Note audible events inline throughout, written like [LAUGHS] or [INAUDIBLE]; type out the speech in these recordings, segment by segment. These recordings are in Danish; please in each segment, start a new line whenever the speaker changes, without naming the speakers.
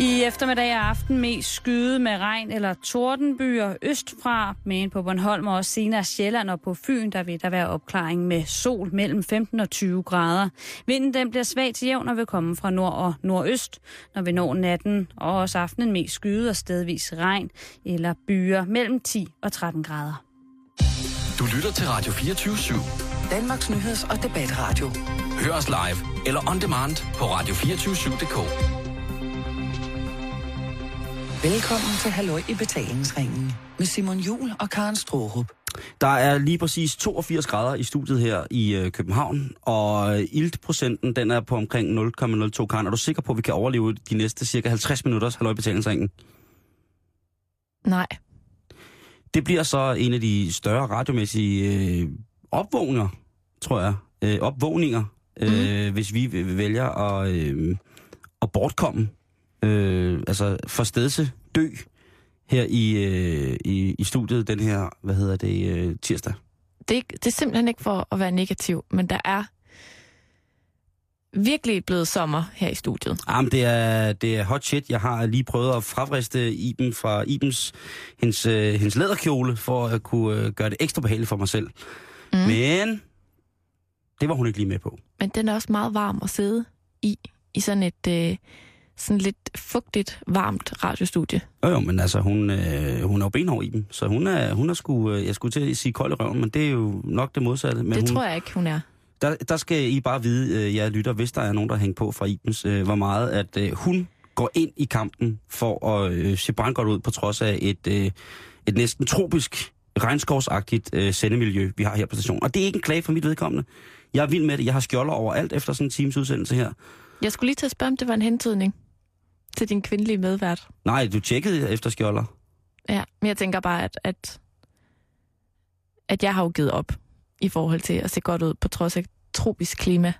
I eftermiddag og aften mest skyde med regn eller tordenbyer østfra, men på Bornholm og også senere Sjælland og på Fyn, der vil der være opklaring med sol mellem 15 og 20 grader. Vinden den bliver svag til jævn og vil komme fra nord og nordøst, når vi når natten og også aftenen mest skyde og stedvis regn eller byer mellem 10 og 13 grader.
Du lytter til Radio 24 /7.
Danmarks Nyheds- og Debatradio.
Hør os live eller on demand på radio247.dk.
Velkommen til Halløj i betalingsringen med Simon Jul og Karen Strohrup.
Der er lige præcis 82 grader i studiet her i øh, København, og øh, iltprocenten den er på omkring 0,02 kan. Er du sikker på, at vi kan overleve de næste cirka 50 minutters halvøjbetalingsringen?
Nej.
Det bliver så en af de større radiomæssige øh, opvågninger, tror jeg. Øh, opvågninger, øh, hvis vi v- vælger at, øh, at bortkomme, øh, altså forstedse, dø her i, øh, i, i studiet den her, hvad hedder det, øh, tirsdag.
Det er, ikke, det er simpelthen ikke for at være negativ, men der er virkelig blevet sommer her i studiet.
Jamen, Ah, det er, det er hot shit. Jeg har lige prøvet at fravriste Iben fra Ibens, hendes, øh, hendes læderkjole, for at kunne øh, gøre det ekstra behageligt for mig selv. Mm. Men det var hun ikke lige med på.
Men den er også meget varm at sidde i, i sådan et øh, sådan lidt fugtigt, varmt radiostudie.
Jo, jo, men altså, hun, øh, hun er jo benhård i dem, så hun er, hun er sgu, øh, jeg skulle til at sige kold i røven, men det er jo nok det modsatte. Men
det
hun,
tror jeg ikke, hun er.
Der, der skal I bare vide, øh, jeg lytter, hvis der er nogen, der hænger på fra Ibens, øh, hvor meget, at øh, hun går ind i kampen for at øh, se brandgodt ud, på trods af et, øh, et næsten tropisk, regnskovsagtigt øh, sendemiljø, vi har her på stationen. Og det er ikke en klage for mit vedkommende. Jeg er vild med det. Jeg har skjolder overalt efter sådan en times udsendelse her.
Jeg skulle lige til at spørge, om det var en hentydning til din kvindelige medvært.
Nej, du tjekkede efter skjolder.
Ja, men jeg tænker bare, at, at, at jeg har jo givet op i forhold til at se godt ud, på trods af tropisk klima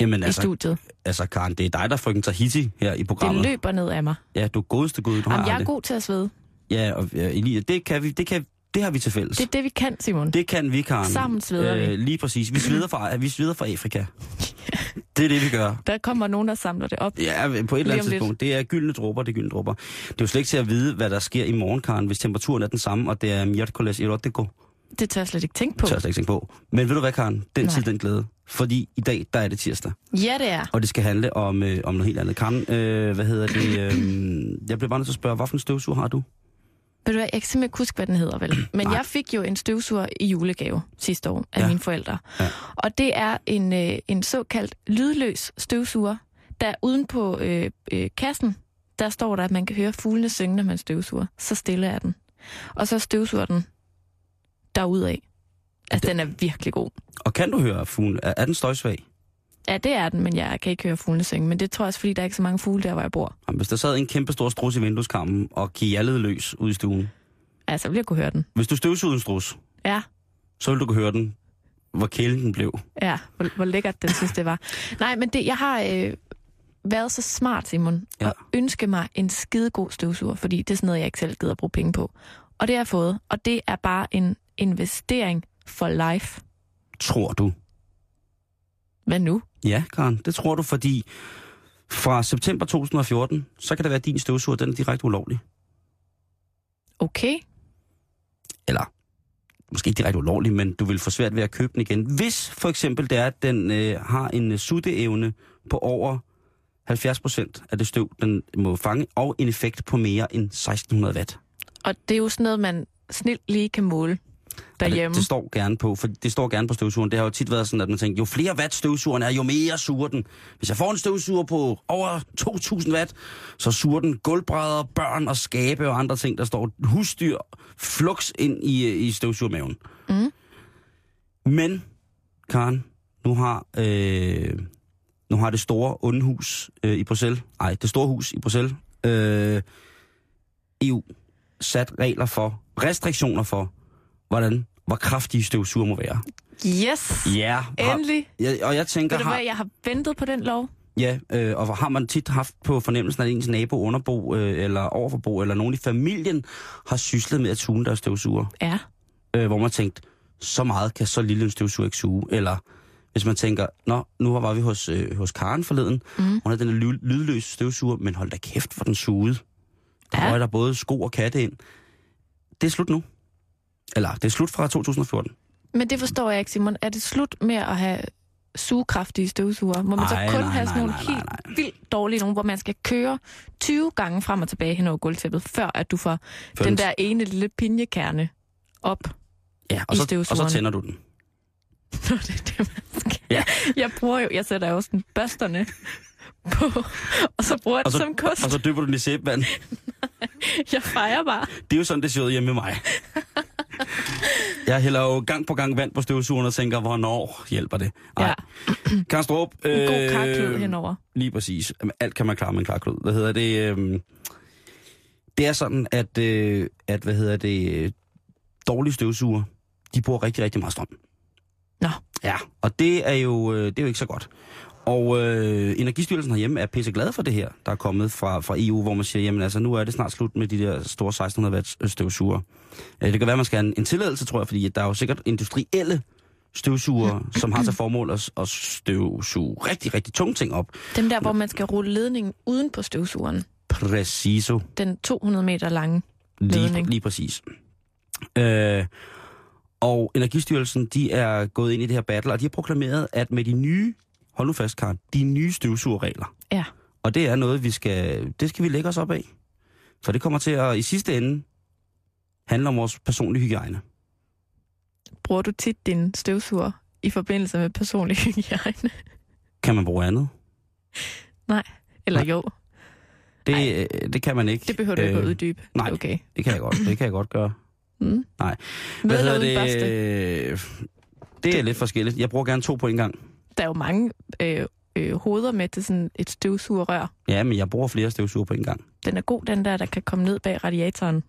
Jamen
altså, i
altså,
studiet.
altså Karen, det er dig, der frygter Tahiti her i
Det
programmet.
løber ned af mig.
Ja, du er godeste gud, du har
Jamen, jeg er
det.
god til at svede.
Ja, og ja, Elia, det kan vi, det kan, det har vi til fælles.
Det er det, vi kan, Simon.
Det kan vi, Karen. Øh,
Sammen sveder vi.
Lige præcis. Vi sveder fra, vi sveder fra Afrika. Det er det, vi gør.
Der kommer nogen, der samler det op.
Ja, på et eller
Lige
andet
om lidt.
tidspunkt. Det er gyldne dråber, det er gyldne dråber. Det er jo slet ikke til at vide, hvad der sker i morgen, Karen, hvis temperaturen er den samme, og det er miércoles i Rottego.
Det tør jeg slet ikke tænke på.
Tør jeg slet ikke tænke på. Men ved du hvad, Karen? Den
Nej.
tid, den glæde. Fordi i dag, der er det tirsdag,
Ja, det er.
og det skal handle om, øh, om noget helt andet. Karen, øh, hvad hedder det?
[CLEARS THROAT]
Øh, jeg bliver bare nødt til at spørge, hvilken støvsuger har du?
Ved du hvad, jeg kan simpelthen ikke huske, hvad den hedder,
[CLEARS THROAT]
vel? Men
Nej.
jeg fik jo en støvsuger i julegave sidste år af
Ja.
ja. mine forældre.
Ja.
Og det er en, øh, en såkaldt lydløs støvsuger, der uden på øh, øh, kassen, der står der, at man kan høre fuglene synge, når man støvsuger. Så stille er den. Og så støvsuger den derudad. Altså, den er virkelig god.
Og kan du høre fuglen? Er, er den støjsvag?
Ja, det er den, men jeg kan ikke høre fuglene synge. Men det tror jeg også, fordi der er ikke så mange fugle der, hvor jeg bor.
Jamen, hvis der sad en kæmpe stor strus i vindueskammen og gjaldede løs ud i stuen.
Altså, jeg ville jeg kunne høre den.
Hvis du støvsugede en strus,
Ja.
så ville du kunne høre den, hvor kælen den blev.
Ja, hvor, hvor lækkert den synes, det var. Nej, men det, jeg har øh, været så smart, Simon,
Ja.
ja. og ønske mig en skidegod støvsuger, fordi det er sådan noget, jeg ikke selv gider at bruge penge på. Og det har jeg fået, og det er bare en investering for life.
Tror du?
Hvad nu?
Ja, Karen, det tror du, fordi fra september 2014, så kan det være, at din støvsuger den er direkte ulovlig.
Okay,
Eller måske ikke direkte ulovlig, men du vil få svært ved at købe den igen. Hvis for eksempel det er, at den øh, har en øh, sutteevne på over 70 procent af det støv, den må fange, og en effekt på mere end 1600 watt.
og det er jo sådan noget, man snilt lige kan måle
Og
derhjemme.
Det, det står gerne på, for det står gerne på støvsugeren. Det har jo tit været sådan, at man tænker, jo flere watt støvsugeren er, jo mere suger den. Hvis jeg får en støvsuger på over 2.000 watt, så suger den gulvbrædder, børn og skabe og andre ting, der står husdyr flux ind i, øh, i støvsugermaven. Mm. Men, Karen, nu har, øh, nu har det store onde hus øh, i Bruxelles, nej, det store hus i Bruxelles, øh, EU, sat regler for, restriktioner for, hvordan, hvor kraftige støvsuger må være.
Yes,
Ja, har,
endelig.
ja og jeg tænker,
Ved du
har,
hvad, jeg har ventet på den lov.
ja, øh, og har man tit haft på fornemmelsen, at ens nabo, underbo øh, eller overforbo, eller nogen i familien har syslet med at tune deres støvsuger,
Ja,
øh, hvor man tænkt, så meget kan så lille en støvsuger ikke suge, eller Hvis man tænker, nå, nu var vi hos, øh, hos Karen forleden, mm. hun havde den her ly- lydløs støvsuger, men hold da kæft, hvor den sugede. Der
Ja.
ja. røg der både sko og katte ind. Det er slut nu. Eller, det er slut fra 2014.
Men det forstår jeg ikke, Simon. Er det slut med at have sugekraftige støvsuger? Må man
Ej,
så kun
nej,
have sådan
nej,
nogle
nej, nej,
helt vildt dårlige nogle, hvor man skal køre 20 gange frem og tilbage hen over gulvtæppet, før at du får
Før
den
den-
der ene lille pinjekerne op? [LAUGHS]
Ja, og
I
så, og
støvsugeren.
så tænder du den.
Nå, det er det, man skal.
Ja.
Jeg bruger jo, jeg sætter jo sådan børsterne [LAUGHS] på, og så bruger jeg
Og så,
det som kost.
og så dypper du den i sæbevand.
Jeg fejrer bare.
Det er jo sådan, det ser ud hjemme med
[LAUGHS]
mig. Jeg hælder jo gang på gang vand på støvsugeren og tænker, hvornår hjælper det? øh,
Ja.
Nej. Karen Strup,
En god karklud henover.
Lige præcis. Jamen, Alt kan man klare med en klarklud. Hvad hedder det? øhm, Det er sådan, at, øh, at hvad hedder det, øh, dårlige støvsuger, de bruger rigtig, rigtig meget strøm.
Nå.
Ja, og det er jo, øh, det er jo ikke så godt. Og øh, Energistyrelsen herhjemme er pisseglad for det her, der er kommet fra, fra EU, hvor man siger, jamen altså, nu er det snart slut med de der store 1600 watts øh, støvsuger. Øh, det kan være, man skal have en, en tilladelse, tror jeg, fordi at der er jo sikkert industrielle støvsuger, som har til formål at, at støvsuge rigtig, rigtig tunge ting op.
Den der, hvor man skal rulle ledningen uden på støvsugeren.
Præciso.
Den 200 meter lange.
Lige,
Ledning.
lige præcis. Øh, og Energistyrelsen, de er gået ind i det her battle, og de har proklameret, at med de nye, hold nu fast, Karen, de nye støvsugerregler,
Ja.
og det er noget, vi skal, det skal vi lægge os op af. For det kommer til at, i sidste ende, handle om vores personlige hygiejne.
Bruger du tit din støvsuger i forbindelse med personlig [LAUGHS] hygiejne?
Kan man bruge andet?
Eller
Nej.
jo,
Det, øh, det kan man ikke.
det behøver du ikke at uddybe.
Øh, nej.
Okay.
Det kan jeg godt, det kan jeg godt gøre.
Mm.
Nej.
Med eller uden
hedder
børste.
det? Det er lidt forskelligt. Jeg bruger gerne to på en gang.
Der er jo mange øh, øh, hoveder med til sådan et støvsugerrør.
Ja, men jeg bruger flere støvsuger på en gang.
Den er god, den der, der kan komme ned bag radiatoren.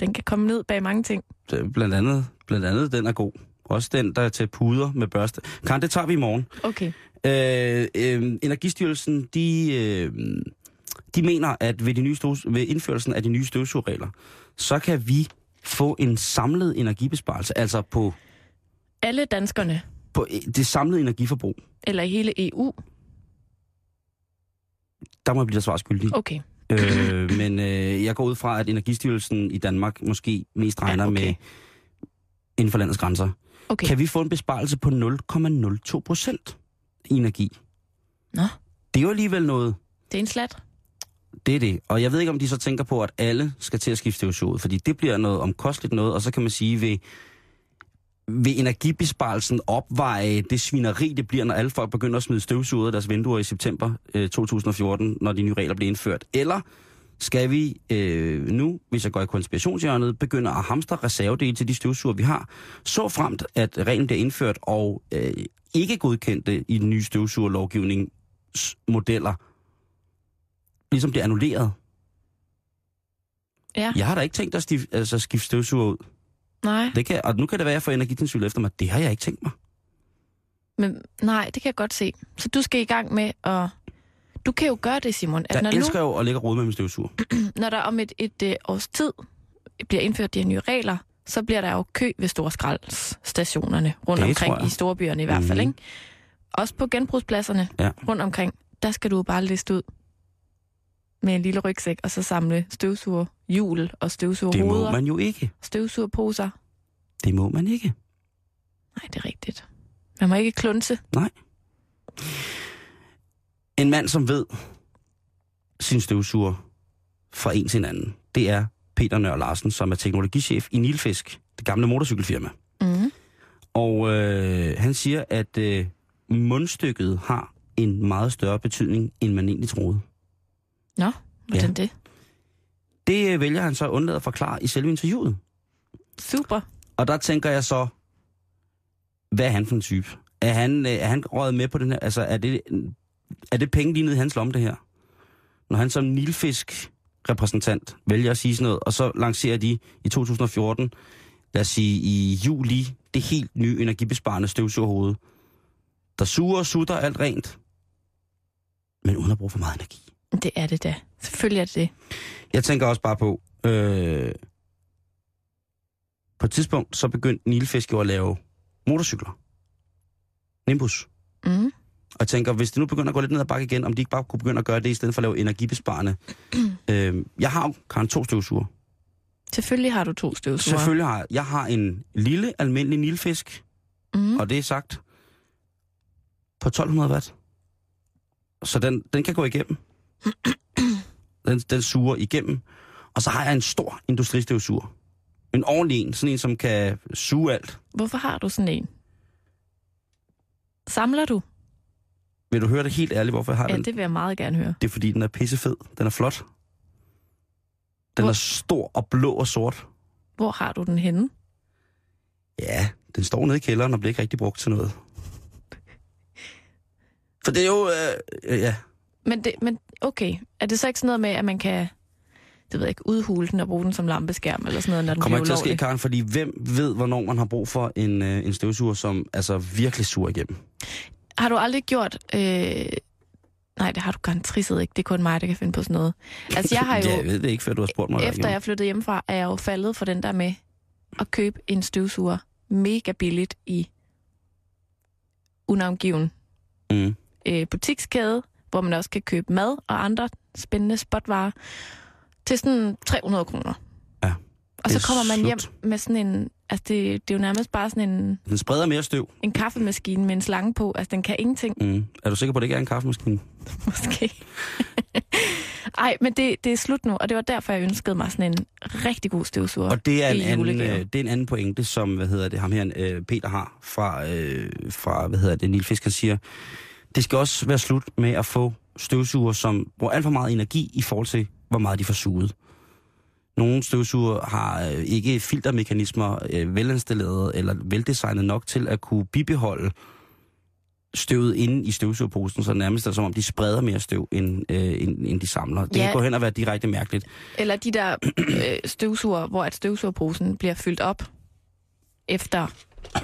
Den kan komme ned bag mange ting.
Øh, Blandt andet, blandt andet den er god. Også den, der er til puder med børste. Karen, det tager vi i morgen.
Okay.
Øh, øh, Energistyrelsen, de, øh, de mener, at ved, de nye støvs- ved indførelsen af de nye støvsugerregler, så kan vi få en samlet energibesparelse, altså på,
Alle danskerne,
på øh, det samlede energiforbrug.
eller i hele E EU.
Mm. Der må jeg blive der svar skyldig.
Okay.
Øh, men øh, jeg går ud fra, at Energistyrelsen i Danmark måske mest regner
Ja,
ja,
okay.
okay. med inden for landets grænser.
Okay.
Kan vi få en besparelse på 0,02 procent i energi?
Nå.
Det er jo alligevel noget.
Det er en slat.
Det er det. Og jeg ved ikke, om de så tænker på, at alle skal til at skifte støvsuger ud, fordi det bliver noget omkosteligt noget, og så kan man sige, ved, vil energibesparelsen opveje det svineri, det bliver, når alle folk begynder at smide støvsuger ud af deres vinduer i september øh, 2014, når de nye regler bliver indført? Eller skal vi øh, nu, hvis jeg går i konspirationshjørnet, begynde at hamstre reservedele til de støvsuger, vi har, så fremt, at reglen bliver indført, og øh, ikke godkendte i den nye støvsugerlovgivningsmodeller ligesom bliver annulleret.
Ja.
Jeg har da ikke tænkt at stif, altså, skifte støvsuger ud.
Nej.
Det kan, og nu kan det være, at jeg får energitilsynet efter mig. Det har jeg ikke tænkt mig.
Men nej, det kan jeg godt se. Så du skal i gang med at... Du kan jo gøre det, Simon, at
Jeg
når,
elsker jo at ligge og rode med min støvsuger.
nu, når der om et, et øh, års tid bliver indført de her nye regler, så bliver der jo kø ved store skraldstationerne rundt
Det tror
omkring
jeg.
i storbyerne i hvert fald,
Mhm.
ikke? Også på genbrugspladserne
Ja.
rundt omkring, der skal du jo bare liste ud med en lille rygsæk, og så samle støvsuger, hjul og
Det
støvsugerhoveder,
må man jo ikke.
støvsugerposer.
Det må man ikke.
Nej, det er rigtigt. Man må ikke klunse.
En mand, som ved sin støvsuger fra en til en anden, det er Peter Nør Larsen, som er teknologichef i Nilfisk, det gamle motorcykelfirma.
Mm.
Og øh, han siger, at øh, mundstykket har en meget større betydning, end man egentlig troede.
Nå, hvordan det?
Det øh, vælger han så at undlade at forklare i selve interviewet.
Super.
Og der tænker jeg så, hvad er han for en type? Er han, øh, er han røget med på den her? Altså, er det, er det penge lige ned i hans lomme, det her? Når han som nilfisk repræsentant vælger at sige sådan noget, og så lancerer de i 2014, lad os sige i juli, det helt nye energibesparende støvsugerhoved, der suger og sutter alt rent, men uden at bruge for meget energi.
Det er det da. Selvfølgelig er det det.
Jeg tænker også bare på, øh, på et tidspunkt, så begyndte Nilfisk jo at lave motorcykler. Nimbus.
Mm.
Og jeg tænker, hvis det nu begynder at gå lidt ned ad bakke igen, om de ikke bare kunne begynde at gøre det, i stedet for at lave energibesparende. øhm, jeg har jo, Karen, to støvsuger.
Selvfølgelig har du to støvsugere.
Selvfølgelig har jeg. Jeg har en lille, almindelig nilfisk,
Mm.
mm. og det er sagt på 1200 watt. Så den, den kan gå igennem. den, den suger igennem. Og så har jeg en stor industristøvsuger. En ordentlig en, sådan en, som kan suge alt.
Hvorfor har du sådan en? Samler du?
Vil du høre det helt ærligt, hvorfor jeg har
Ja,
den?
det vil jeg meget gerne høre.
Det er fordi, den er pissefed. Den er flot. Den
Hvor-
er stor og blå og sort.
Hvor har du den henne?
Ja, den står nede i kælderen og bliver ikke rigtig brugt til noget. For det er jo... Øh, øh, ja,
Men, det, men okay, er det så ikke sådan noget med, at man kan det ved jeg ikke, udhule den og bruge den som lampeskærm eller sådan noget, når den
kommer ikke til
bliver
at ske,
ulovlig?
Karen, fordi hvem ved, hvornår man har brug for en, øh, en støvsuger, som altså virkelig suger igennem?
Har du aldrig gjort... Øh... Nej, det har du garanteret ikke. Det er kun mig, der kan finde på sådan noget. Altså, jeg har jo...
[LAUGHS] ja, jeg ved det ikke, før du har spurgt mig.
Efter jeg flyttede hjemmefra, er jeg jo faldet for den der med at købe en støvsuger mega billigt i unavngiven
Mm.
øh, butikskæde, hvor man også kan købe mad og andre spændende spotvarer til sådan 300 kroner.
Ja,
Og
det
så
er
kommer man hjem
slut.
med sådan en... Altså, det, det er jo nærmest bare sådan en,
Den spreder mere støv.
en kaffemaskine med en slange på. Altså, den kan ingenting. [LAUGHS]
Mm. Er du sikker på, at det ikke er en kaffemaskine?
Måske. Ej, men det, det er slut nu, og det var derfor, jeg ønskede mig sådan en rigtig god støvsuger.
Og det er en,
i
anden,
julegave.
øh, det er en anden pointe, som hvad hedder det, ham her, øh, Peter har fra, øh, fra hvad hedder det, Niel Fisk, han siger, det skal også være slut med at få støvsuger, som bruger alt for meget energi i forhold til, hvor meget de får suget. Nogle støvsuger har øh, ikke filtermekanismer øh, velinstalleret eller veldesignet nok til at kunne bibeholde støvet inde i støvsugerposen, så nærmest er det som om, de spreder mere støv, end, øh, end, end de samler. Det
Ja.
kan gå hen og være direkte mærkeligt.
Eller de der [CLEARS THROAT] øh, støvsuger, hvor at støvsugerposen bliver fyldt op efter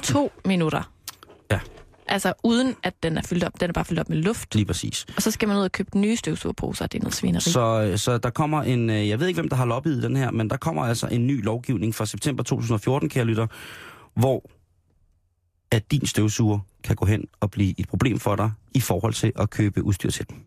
to minutter.
Ja.
Altså uden at den er fyldt op. Den er bare fyldt op med luft.
Lige præcis.
Og så skal man ud og købe nye støvsugerposer. Det er noget svineri. Så...
Så, så der kommer en, øh, jeg ved ikke, hvem der har lobbyet den her, men der kommer altså en ny lovgivning fra september 2014, kære lytter, hvor at din støvsuger kan gå hen og blive et problem for dig i forhold til at købe udstyr til den.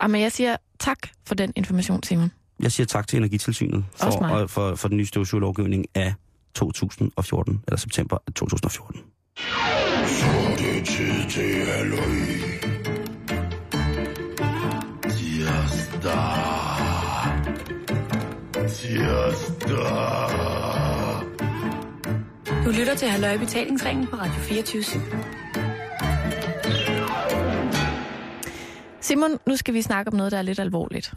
Ah, men jeg siger tak for den information, Simon.
Jeg siger tak til Energitilsynet
Også
for,
mig.
og, for, for den nye støvsugerlovgivning af 2014, eller september 2014.
Det er tid til halløj. Tirsdag. Tirsdag.
Du lytter til Halløj Betalingsringen på Radio 24
Simon, nu skal vi snakke om noget, der er lidt alvorligt.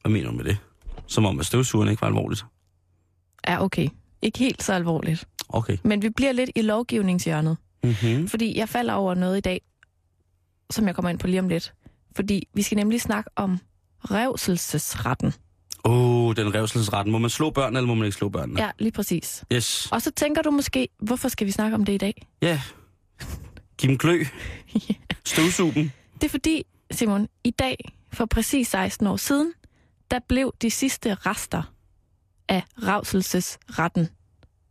Hvad mener du med det? Som om, at støvsugeren ikke var alvorligt.
Ja, okay. Ikke helt så alvorligt.
Okay.
Men vi bliver lidt i lovgivningshjørnet.
Mm-hmm.
Fordi jeg falder over noget i dag, som jeg kommer ind på lige om lidt. Fordi vi skal nemlig snakke om revselsesretten.
Åh, oh, den revselsesretten. Må man slå børn, eller må man ikke slå børnene?
Ja, lige præcis.
Yes.
Og så tænker du måske, hvorfor skal vi snakke om det i dag?
Ja. Giv dem
[LAUGHS]
klø. Støvsugen.
Det er fordi, Simon, i dag, for præcis 16 år siden, der blev de sidste rester af revselsesretten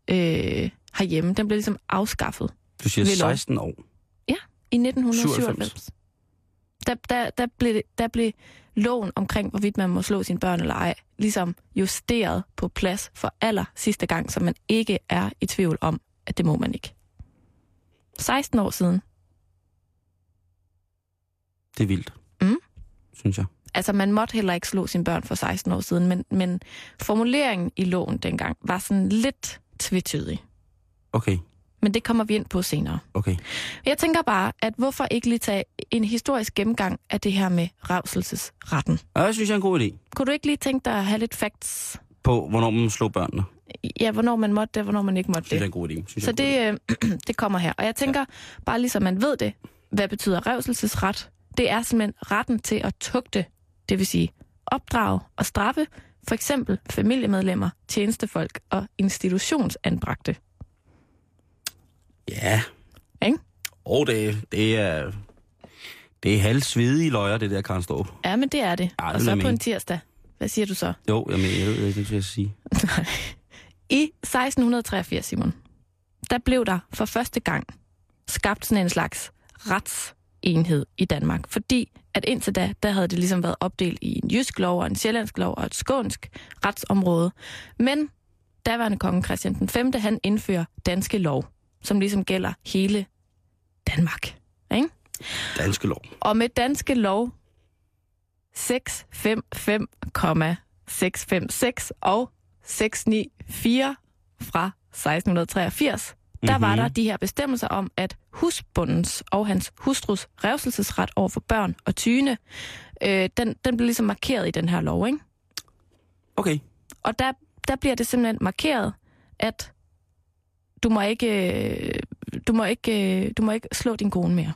øh, herhjemme. Den blev ligesom afskaffet
Du siger
Ved lov.
16 år.
i 1997. Der, der, der, blev, det- der blev loven omkring, hvorvidt man må slå sine børn eller ej, ligesom justeret på plads for aller sidste gang, så man ikke er i tvivl om, at det må man ikke. 16 år siden.
Det er vildt.
Mm.
Synes jeg.
Altså, man måtte heller ikke slå sine børn for 16 år siden, men, men formuleringen i loven dengang var sådan lidt tvetydig.
Okay,
Men det kommer vi ind på senere.
okay.
Jeg tænker bare, at hvorfor ikke lige tage en historisk gennemgang af det her med revselsesretten?
Ja, jeg synes, jeg er en god idé
Kunne du ikke lige tænke dig at have lidt facts?
på, hvornår man slår børnene.
Ja, hvornår man måtte det, og hvornår man ikke måtte
Synes jeg er
det.
en god idé. Synes
Så
jeg er en
det, øh, [CLEARS THROAT] det kommer her. Og jeg tænker, bare ligesom man ved det, hvad betyder revselsesret? Det er simpelthen retten til at tugte, det vil sige opdrage og straffe, for eksempel familiemedlemmer, tjenestefolk og institutionsanbragte.
god idé. Ja.
Ikke?
Og det, det er... Det er halvsvedige løjer, det der, Karen Storp.
Ja, men det er det.
Ej, det
og
vil jeg
så på
mene.
en tirsdag. Hvad siger du så?
Jo, jeg mener, jeg ved ikke, hvad jeg skal sige.
I 1683, Simon, der blev der for første gang skabt sådan en slags retsenhed i Danmark, fordi at indtil da, der havde det ligesom været opdelt i en jysk lov og en sjællandsk lov og et skånsk retsområde. Men daværende konge Christian den 5. han indfører danske lov, som ligesom gælder hele Danmark. Ikke?
Danske lov.
Og med danske lov 655,656 og 694 fra 1683, der var der de her bestemmelser om, at husbundens og hans hustrus revselsesret over for børn og tyne, øh, den, den blev ligesom markeret i den her lov, ikke?
Okay.
Og der, der bliver det simpelthen markeret, at du må ikke, øh, du må ikke, øh, du må ikke slå din kone mere.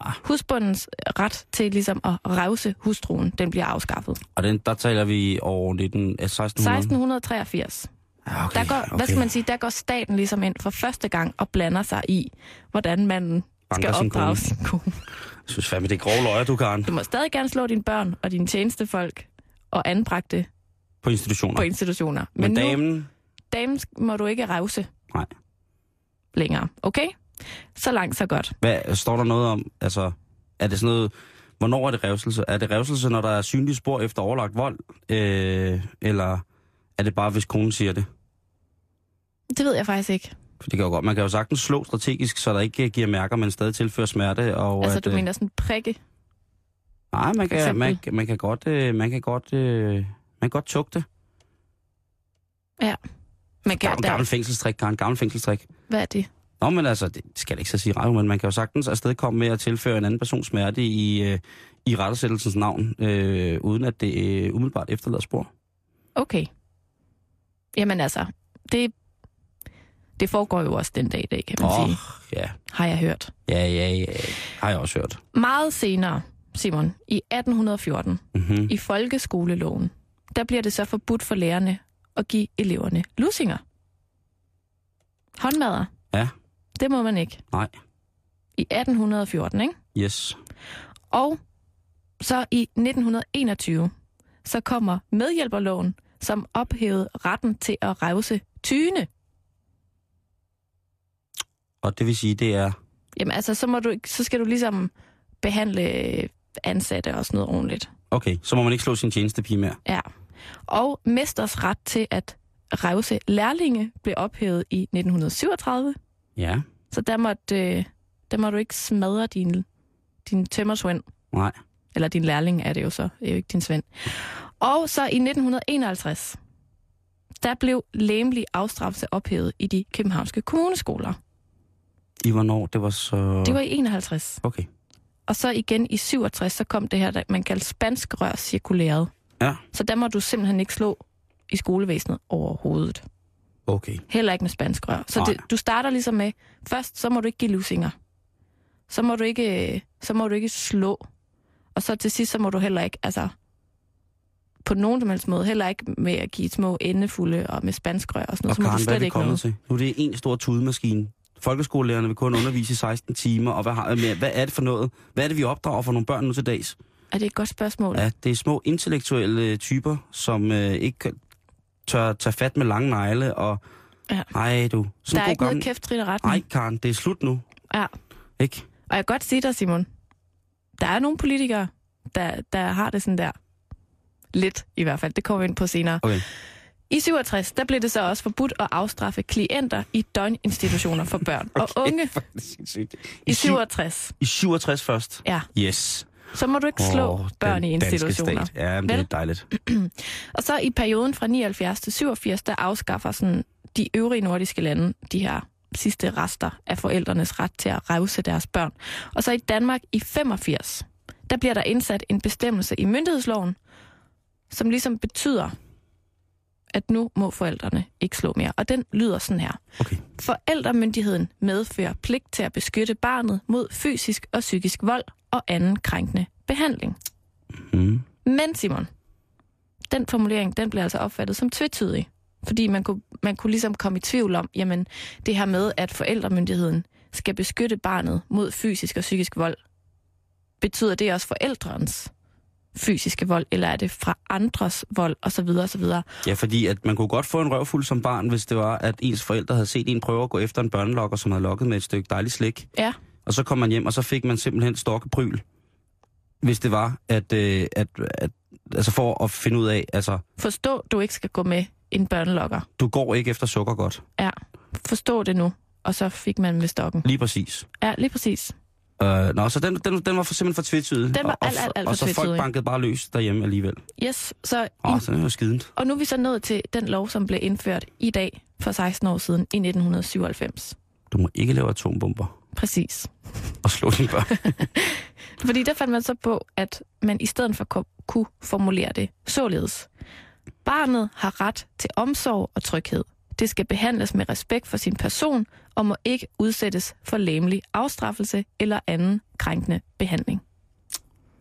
Ah.
Husbundens ret til ligesom at revse hustruen, den bliver afskaffet.
Og den, der taler vi over 19, eh, 1600.
1683.
Ja, okay,
Der går,
okay.
okay. hvad skal man sige, der går staten ligesom ind for første gang og blander sig i, hvordan manden
Banker
skal
sin kone.
opdrage sin kone.
Jeg synes fandme, det er grove løjer, du, Karen.
Du må stadig gerne slå dine børn og dine tjenestefolk og anbragte
På institutioner.
på institutioner.
Men,
Men, nu,
damen...
damen må du ikke revse
Nej.
længere, okay? Så langt, så godt.
Hvad står der noget om? Altså, er det sådan noget... Hvornår er det revselse? Er det revselse, når der er synlige spor efter overlagt vold? Øh, eller er det bare, hvis konen siger det?
Det ved jeg faktisk ikke.
For det kan jo godt. Man kan jo sagtens slå strategisk, så der ikke øh, giver mærker, men stadig tilfører smerte. Og
altså,
at,
du
øh,
mener sådan prikke.
Nej, man
for
kan,
eksempel?
man, kan- man kan godt... Øh, man kan godt... Øh, man kan godt tugte.
Man kan,
Gammel,
der,
gammel fængselstrik, Karen. Gammel fængselstrik.
hvad er det?
Nå, men altså, det skal jeg ikke så sige radio, men man kan jo sagtens afstedkomme med at tilføre en anden persons smerte i, øh, i rettesættelsens navn, øh, uden at det øh, umiddelbart efterlader spor.
Okay. Jamen altså, det, det foregår jo også den dag i dag, kan man oh. sige,
ja.
har jeg hørt.
Ja, ja, ja. Har jeg også hørt.
Meget senere, Simon, i 1814,
Mm-hmm.
i folkeskoleloven, der bliver det så forbudt for lærerne at give eleverne lusinger. Håndmadder.
Ja.
Det må man ikke.
Nej.
I 1814, ikke?
Yes.
Og så i 1921, så kommer medhjælperloven, som ophævede retten til at revse tyne.
Og det vil sige, det er...
Jamen altså, så, må du, ikke- så skal du ligesom behandle ansatte og sådan noget ordentligt.
Okay, så må man ikke slå sin tjenestepige mere.
Ja. Og mesters ret til at revse lærlinge blev ophævet i 1937,
Ja.
så der måtte, øh, der må du ikke smadre din, din tømmersvend.
Nej.
Eller din lærling er det jo så, det er jo ikke din svend. Og så i 1951, der blev læmelig afstraffelse ophævet i de københavnske kommuneskoler.
I hvornår? Det var så...
Det var i 51.
Okay.
Og så igen i 67, så kom det her, der man kaldte spansk rør cirkuleret.
Ja.
Så der må du simpelthen ikke slå i skolevæsenet overhovedet.
Okay.
Heller ikke med spansk rør. Så
Nej.
det, du starter ligesom med, først så må du ikke give lusinger. Så må du ikke, øh, så må du ikke slå. Og så til sidst, så må du heller ikke, altså på nogen som helst måde, heller ikke med at give små endefulde og med spansk rør og sådan
Og
noget, så må
Karen,
du
hvad er
slet
vi
ikke
kommet
noget.
til? Nu er det en stor tudemaskine. Folkeskolelærerne vil kun undervise i 16 timer, og hvad, har, med- hvad er det for noget? Hvad er det, vi opdrager for nogle børn nu til dags?
Er det et godt spørgsmål?
Ja, det er små intellektuelle typer, som øh, ikke kan- tør tage fat med lange negle, og
Ja.
nej du,
der
sådan
er
god
ikke
gammel...
noget kæft trit og retning.
Nej, Karen, det er slut nu,
Ja.
ikke?
Og jeg kan godt sige dig, Simon, der er nogle politikere, der, der har det sådan der. Lidt i hvert fald, det kommer vi ind på senere.
Okay.
I 67, der blev det så også forbudt at afstraffe klienter i døgninstitutioner for børn okay. og unge. I
I, syv,
67,
I 67 først?
ja.
Yes.
Så må du ikke slå
Åh,
oh, børn i
den danske
institutioner.
Stat. Ja, men det er
Vel?
dejligt.
Og så i perioden fra 79 til 87, der afskaffer sådan de øvrige nordiske lande de her sidste rester af forældrenes ret til at revse deres børn. Og så i Danmark i 85, der bliver der indsat en bestemmelse i myndighedsloven, som ligesom betyder, at nu må forældrene ikke slå mere. Og den lyder sådan her.
Okay.
Forældremyndigheden medfører pligt til at beskytte barnet mod fysisk og psykisk vold og anden krænkende behandling.
Mm.
Men Simon, den formulering, den blev altså opfattet som tvetydig. Fordi man kunne, man kunne ligesom komme i tvivl om, jamen det her med, at forældremyndigheden skal beskytte barnet mod fysisk og psykisk vold, betyder det også forældrens fysiske vold, eller er det fra andres vold, osv. osv.
Ja, fordi at man kunne godt få en røvfuld som barn, hvis det var, at ens forældre havde set en prøve at gå efter en børnelokker, som havde lokket med et stykke dejligt slik.
Ja.
Og så kom man hjem, og så fik man simpelthen stokkepryl, hvis det var, at, øh, at, at altså for at finde ud af, altså,
Forstå, du ikke skal gå med en børnelokker.
du går ikke efter sukker godt.
Forstå det nu. Og så fik man med stokken.
Lige præcis.
Ja, lige præcis.
Øh, nå, så den, den, den var for, simpelthen for tvetydig.
Den var
og,
alt, alt, alt
Og
for
så folk
tvetydig.
bankede bare løs derhjemme alligevel.
Yes, så
Åh, så det var skident.
Og nu er vi så nået til den lov, som blev indført i dag for 16 år siden i 1997.
Du må ikke lave atombomber
Præcis.
og slå dine børn. [LAUGHS]
Fordi der fandt man så på, at man i stedet for ko- kunne formulere det således. Barnet har ret til omsorg og tryghed. Det skal behandles med respekt for sin person og må ikke udsættes for læmelig afstraffelse eller anden krænkende behandling.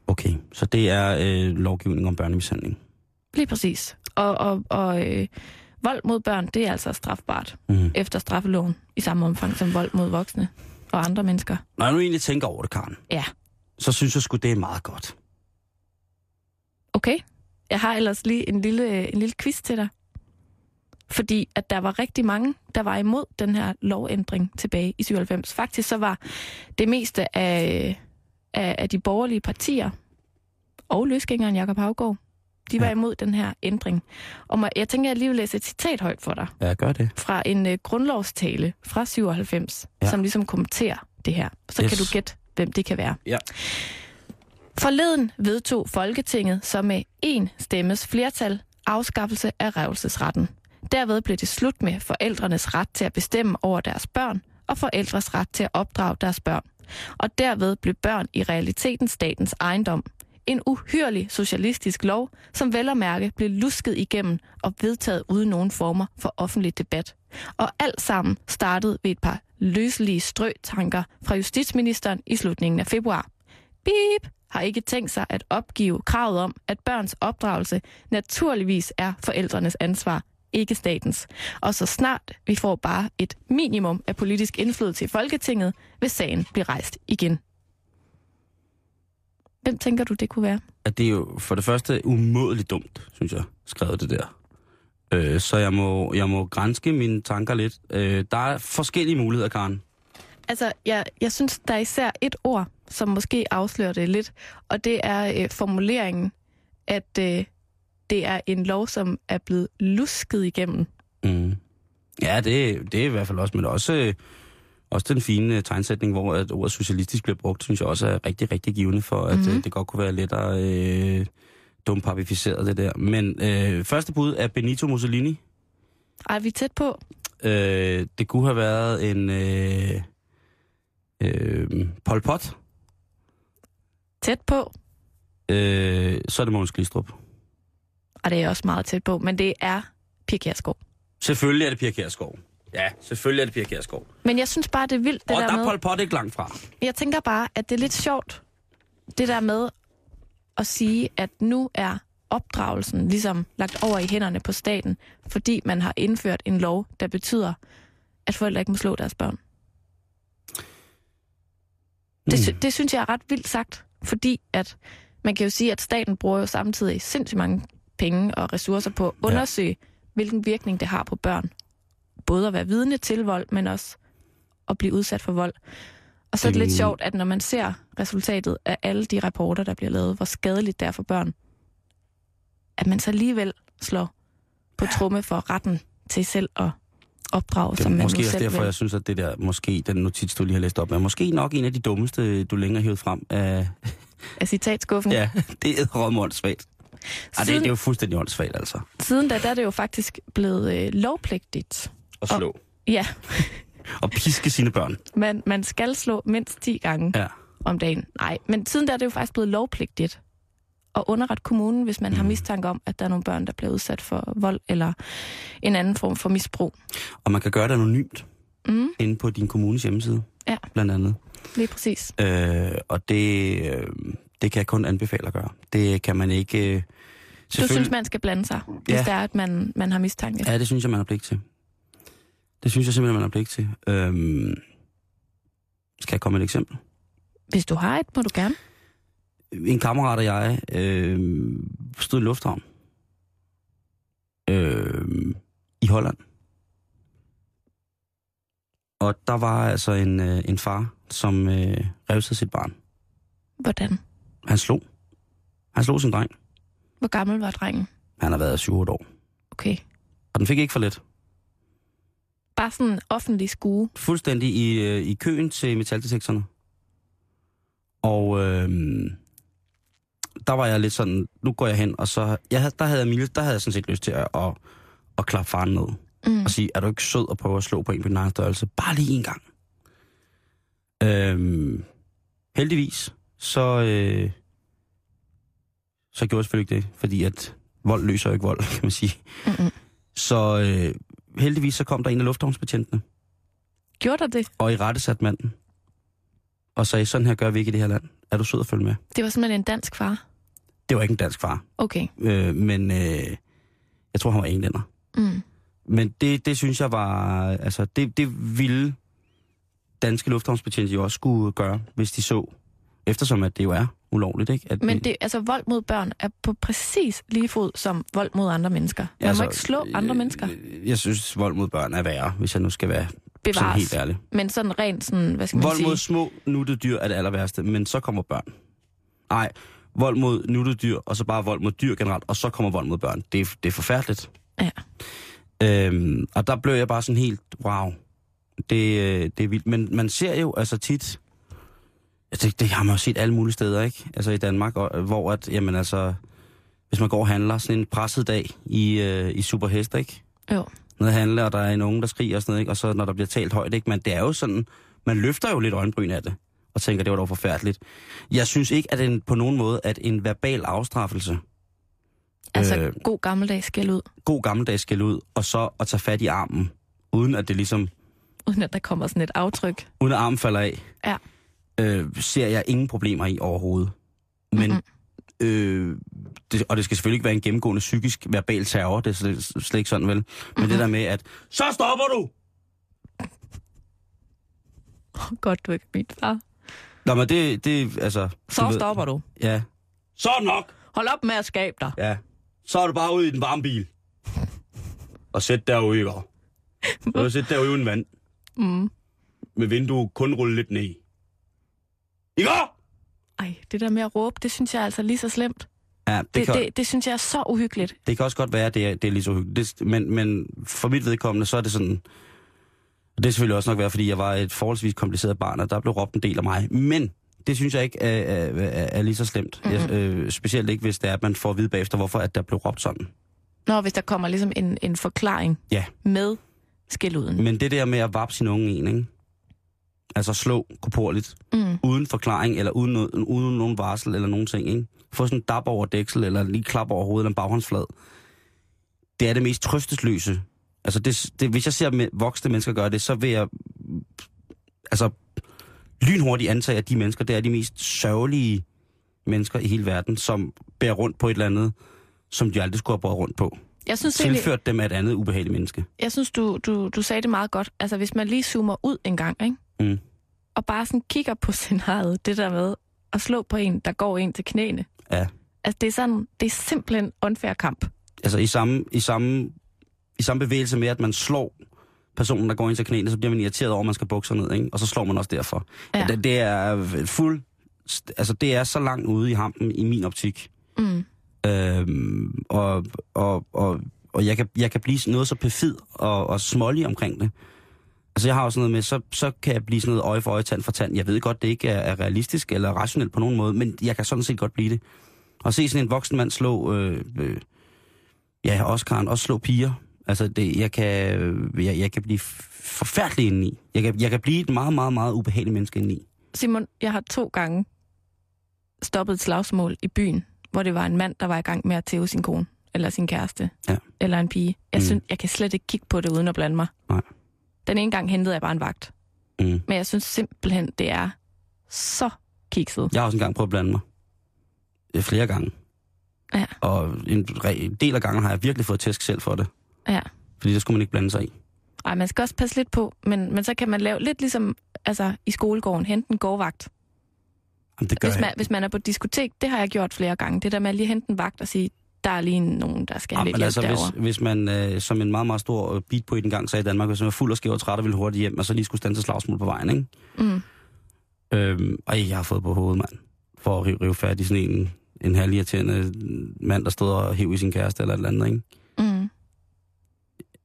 Okay, så det er øh, lovgivning om børnemishandling.
Lige præcis. Og, og, og øh, vold mod børn, det er altså strafbart
Mm.
efter straffeloven i samme omfang som vold mod voksne og andre mennesker.
Når jeg nu egentlig tænker over det, Karen,
Ja.
så synes jeg sgu, det er meget godt.
Okay. Jeg har ellers lige en lille, øh, en lille quiz til dig. Fordi at der var rigtig mange, der var imod den her lovændring tilbage i 97. Faktisk så var det meste af, af, af de borgerlige partier og løsgængeren Jakob Havgaard, de var
Ja.
ja. imod den her ændring. Og må, jeg tænker, at jeg lige vil læse et citat højt for dig
Ja, gør det.
fra en øh, grundlovstale fra 97,
Ja.
ja. som ligesom kommenterer det her. Så
Yes.
yes. kan du gætte, hvem det kan være.
Ja.
Forleden vedtog Folketinget så med én stemmes flertal afskaffelse af revelsesretten. Derved blev det slut med forældrenes ret til at bestemme over deres børn og forældres ret til at opdrage deres børn. Og derved blev børn i realiteten statens ejendom. En uhyrlig socialistisk lov, som vel at mærke blev lusket igennem og vedtaget uden nogen former for offentlig debat. Og alt sammen startede ved et par løselige strøtanker fra justitsministeren i slutningen af februar. Bip har ikke tænkt sig at opgive kravet om, at børns opdragelse naturligvis er forældrenes ansvar, ikke statens. Og så snart vi får bare et minimum af politisk indflydelse i Folketinget, vil sagen blive rejst igen. Hvem tænker du, det kunne være?
At det er jo for det første umådeligt dumt, synes jeg, skrevet det der. Øh, så jeg må, jeg må grænske mine tanker lidt. Øh, der er forskellige muligheder, Karen.
Altså, jeg, jeg synes, der er især et ord, som måske afslører det lidt, og det er øh, formuleringen, at øh, det er en lov, som er blevet lusket igennem.
Mm. Ja, det, det er i hvert fald også, men også, øh, også den fine øh, tegnsætning, hvor at ordet socialistisk bliver brugt, synes jeg også er rigtig, rigtig givende for, at mm.
Mhm.
øh, det godt kunne være lettere øh, dumpapificeret det der. Men øh, første bud er Benito Mussolini.
Ej, vi er tæt på.
Øh, det kunne have været en øh, øh, Pol Pot.
Tæt på.
Øh, så er det Mogens Glistrup.
Og det er også meget tæt på, men det er Pia Kjærsgaard.
Selvfølgelig er det Pia Kjærsgaard. Ja, selvfølgelig er det Pia Kjærsgaard.
Men jeg synes bare, det er vildt, det
Og
der,
der er
med...
Pol Pot ikke langt fra.
Jeg tænker bare, at det er lidt sjovt, det der med at sige, at nu er opdragelsen ligesom lagt over i hænderne på staten, fordi man har indført en lov, der betyder, at forældre ikke må slå deres børn. Det,
Mm.
sy- det synes jeg er ret vildt sagt, fordi at man kan jo sige, at staten bruger jo samtidig sindssygt mange penge og ressourcer på at
Ja.
undersøge, hvilken virkning det har på børn. Både at være vidne til vold, men også at blive udsat for vold. Og så er det lidt
Det-
sjovt, at når man ser resultatet af alle de rapporter, der bliver lavet, hvor skadeligt det er for børn, at man så alligevel slår på tromme for retten til selv at opdrage,
Det er
som man
måske
nu
også
selv
derfor,
vil.
jeg synes, at det der, måske den notits, du lige har læst op, er måske nok en af de dummeste, du længere har hævet frem af...
af citatskuffen.
Ja, det er rom åndssvagt. Ej, det,
Siden-
det, er jo fuldstændig åndssvagt, altså.
Siden da, der er det jo faktisk blevet øh, lovpligtigt.
At slå.
Ja,
[LAUGHS] Og piske sine børn.
man, man skal slå mindst 10 gange
Ja.
om dagen. Nej, men siden da er det jo faktisk blevet lovpligtigt at underrette kommunen, hvis man har
Mm.
mistanke om, at der er nogle børn, der bliver udsat for vold eller en anden form for misbrug.
Og man kan gøre det anonymt
Mm,
inde på din kommunes hjemmeside.
Ja.
Blandt andet.
lige præcis.
Øh, og det, øh, det kan jeg kun anbefale at gøre. Det kan man ikke... Øh,
Du
selvfølgelig-
synes, man skal blande sig, hvis
Ja.
det er, at man, man har mistanke.
Ja, det synes jeg, man har pligt til. Det synes jeg simpelthen, man har pligt til. Øhm, skal jeg komme med et eksempel?
Hvis du har et, må du gerne.
en kammerat og jeg øh, stod i lufthavn øh, i Holland. Og der var altså en, øh, en far, som øh, revsede sit barn.
Hvordan?
Han slog. Han slog sin dreng.
Hvor gammel var drengen?
Han har været 7 år.
Okay.
Og den fik ikke for let.
Bare sådan en offentlig skue.
fuldstændig i, øh, i køen til metaldetektorerne. Og øh, der var jeg lidt sådan, nu går jeg hen, og så, jeg, havde- der havde jeg, mildest- der havde jeg sådan set lyst til at, at, at klappe faren ned. Mm. Og sige, er du ikke sød at prøve at slå på en på din egen størrelse? Bare lige en gang. Øh, heldigvis, så, øh, så gjorde jeg selvfølgelig ikke det, fordi at vold løser jo ikke vold, [LAUGHS] kan man sige.
Mm-mm.
Så øh, heldigvis så kom der en af lufthavnsbetjentene,
Gjorde der det?
og i rette sat manden. Og sagde, sådan her gør vi ikke i det her land. Er du sød at følge med?
Det var simpelthen en dansk far.
Det var ikke en dansk far,
Okay.
øh, men øh, jeg tror, han var englænder.
Mm.
Men det, det synes jeg var... Altså, det, det ville danske lufthavnsbetjente jo også skulle gøre, hvis de så. Eftersom at det jo er ulovligt, ikke? At
Men det, altså, vold mod børn er på præcis lige fod som vold mod andre mennesker. Man altså, må ikke slå andre
øh,
mennesker.
Jeg synes, vold mod børn er værre, hvis jeg nu skal være sådan
Bevares.
helt ærlig.
Men sådan rent sådan, hvad skal man
Vold
sige?
mod små nuttede dyr er det aller værste, men så kommer børn. Nej, vold mod nuttede dyr, og så bare vold mod dyr generelt, og så kommer vold mod børn. Det er, det er forfærdeligt.
Ja.
Øhm, og der blev jeg bare sådan helt, wow, det, øh, det er vildt. Men man ser jo altså tit, altså, det, det har man jo set alle mulige steder, ikke? Altså i Danmark, og, hvor at, jamen altså, hvis man går og handler sådan en presset dag i, øh, i Superhest, ikke?
Jo.
nede og handle, og der er en unge, der skriger og sådan noget, ikke? og så når der bliver talt højt, ikke? men det er jo sådan, man løfter jo lidt øjenbryn af det, og tænker, det var dog forfærdeligt. Jeg synes ikke, at en, på nogen måde, at en verbal afstraffelse,
Altså,
øh.
øh... god gammeldags skæld ud,
god gammeldags skal ud, og så at tage fat i armen, uden at det ligesom,
uden at der kommer sådan et aftryk. [LAUGHS]
uden at armen falder af,
Ja.
øh, ser jeg ingen problemer i overhovedet. Men, mm-hmm. øh, det, og det skal selvfølgelig ikke være en gennemgående psykisk verbal terror, det er slet, slet ikke sådan vel, men mm-hmm. det der med, at så stopper du!
Godt, du er ikke min far.
Nå, men det, det altså... du
Så
ved-
stopper du.
Ja. Så er det nok!
Hold op med at skabe dig.
Ja. Så er du bare ude i den varme bil. Og sæt derude, ikke? Og sæt derude uden vand.
Mm.
Med vinduet kun rulle lidt ned. Ikke?
Ej, det der med at råbe, det synes jeg er altså lige så slemt.
Ja, det,
Det,
kan,
det,
det,
det, det synes jeg er så uhyggeligt.
det kan også godt være, at det er, det er lige så hyggeligt. Det, men, men for mit vedkommende, så er det sådan... Og det er selvfølgelig også nok være, fordi jeg var et forholdsvis kompliceret barn, og der blev råbt en del af mig. Men det synes jeg ikke er, er, er, er lige så slemt. Mm-hmm. Jeg, øh, specielt ikke, hvis det er, at man får at vide bagefter, hvorfor at der blev råbt sådan.
Nå, hvis der kommer ligesom en, en forklaring
Ja.
med skælduden.
Men det der med at vappe sin unge en, ikke? Altså slå koporligt,
Mm.
uden forklaring, eller uden, noget, uden nogen varsel, eller nogen ting, ikke? Få sådan en dab over dæksel, eller lige klap over hovedet, eller en baghåndsflad. Det er det mest trøstesløse. Altså, det, det, hvis jeg ser med, voksne mennesker gøre det, så vil jeg mm, altså, lynhurtigt antage, at de mennesker, det er de mest sørgelige mennesker i hele verden, som bærer rundt på et eller andet, som de aldrig skulle have båret rundt på.
Jeg synes, egentlig,
Tilført dem af et andet ubehageligt menneske.
jeg synes du, du, du sagde det meget godt. Altså, hvis man lige zoomer ud en gang, ikke?
Mm.
og bare sådan kigger på [LAUGHS] scenariet, det der med at slå på en, der går en til knæene.
Ja.
Altså, det er, sådan, det er simpelthen unfair kamp.
altså i samme, i samme, i samme bevægelse med, at man slår personen, der går ind til knæene, så bliver man irriteret over, at man skal bukke sig ned, ikke? og så slår man også derfor.
Ja.
Ja. Det, det er fuld... Altså, det er så langt ude i hampen i min optik.
Mm.
Øhm, og, og, og, og jeg kan, jeg kan blive sådan noget så perfid og, og smålig omkring det. Altså, jeg har også noget med, så, så kan jeg blive sådan noget øje for øje, tand for tand. Jeg ved godt, det ikke er, er realistisk eller rationelt på nogen måde, men jeg kan sådan set godt blive det. Og se sådan en voksen mand slå, øh, øh, ja, Oscar'en, også slå piger. Altså, det, jeg, kan, øh, jeg, jeg kan blive forfærdelig indeni. Jeg kan, jeg kan blive et meget, meget, meget ubehageligt menneske indeni.
Simon, jeg har to gange stoppet et slagsmål i byen, hvor det var en mand, der var i gang med at tæve sin kone, eller sin kæreste,
Ja.
eller en pige. Jeg,
Mm.
synes, jeg kan slet ikke kigge på det uden at blande mig.
Nej.
Den ene gang hentede jeg bare en vagt,
Mm.
men jeg synes simpelthen, det er så kikset.
Jeg har også engang prøvet at blande mig. Øh, Flere gange.
Ja.
Og en re- en del af gangen har jeg virkelig fået tæsk selv for det.
Ja.
Fordi det skulle man ikke blande sig i.
Ej, man skal også passe lidt på, men, men så kan man lave lidt ligesom altså, i skolegården, hente en gårdvagt.
Jamen, det gør
hvis,
jeg.
man, hvis man er på et diskotek, det har jeg gjort flere gange. Det der med at lige hente en vagt og sige, der er lige nogen, der skal have lidt
Jamen,
hjælp
altså,
derovre.
hvis, hvis man, øh, som en meget, meget stor øh, beat på i den gang sagde i Danmark, hvis man var fuld og skæv og træt og ville hurtigt hjem, og så lige skulle stande til slagsmål på vejen, ikke?
Mm.
Øhm, og jeg har fået på hovedet, mand, for at rive, rive fat i sådan en, en halvirriterende mand, der stod og hæv i sin kæreste eller et eller andet, ikke?
Mm.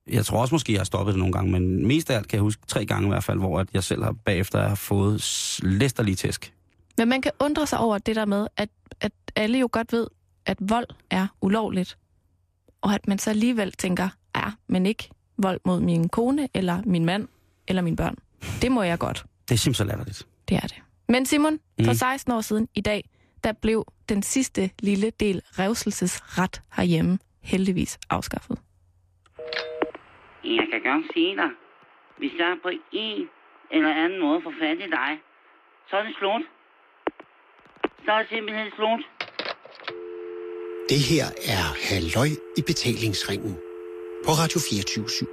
Jeg tror også måske, jeg har stoppet det nogle gange, men mest af alt kan jeg huske tre gange i hvert fald, hvor at jeg selv har bagefter har fået s- læsterlig tæsk.
Men man kan undre sig over det der med, at, at alle jo godt ved, at vold er ulovligt. Og at man så alligevel tænker, ja, men ikke vold mod min kone, eller min mand, eller mine børn. Det må jeg godt.
Det er simpelthen så latterligt.
Det er det. Men Simon, mm. for
Mm.
16 år siden i dag, der blev den sidste lille del revselsesret herhjemme heldigvis afskaffet.
Jeg kan godt sige dig, hvis jeg på en eller anden måde får fat i dig, så er det slut. Så er det simpelthen slut.
Det her er Halløj i betalingsringen på Radio 24 /7.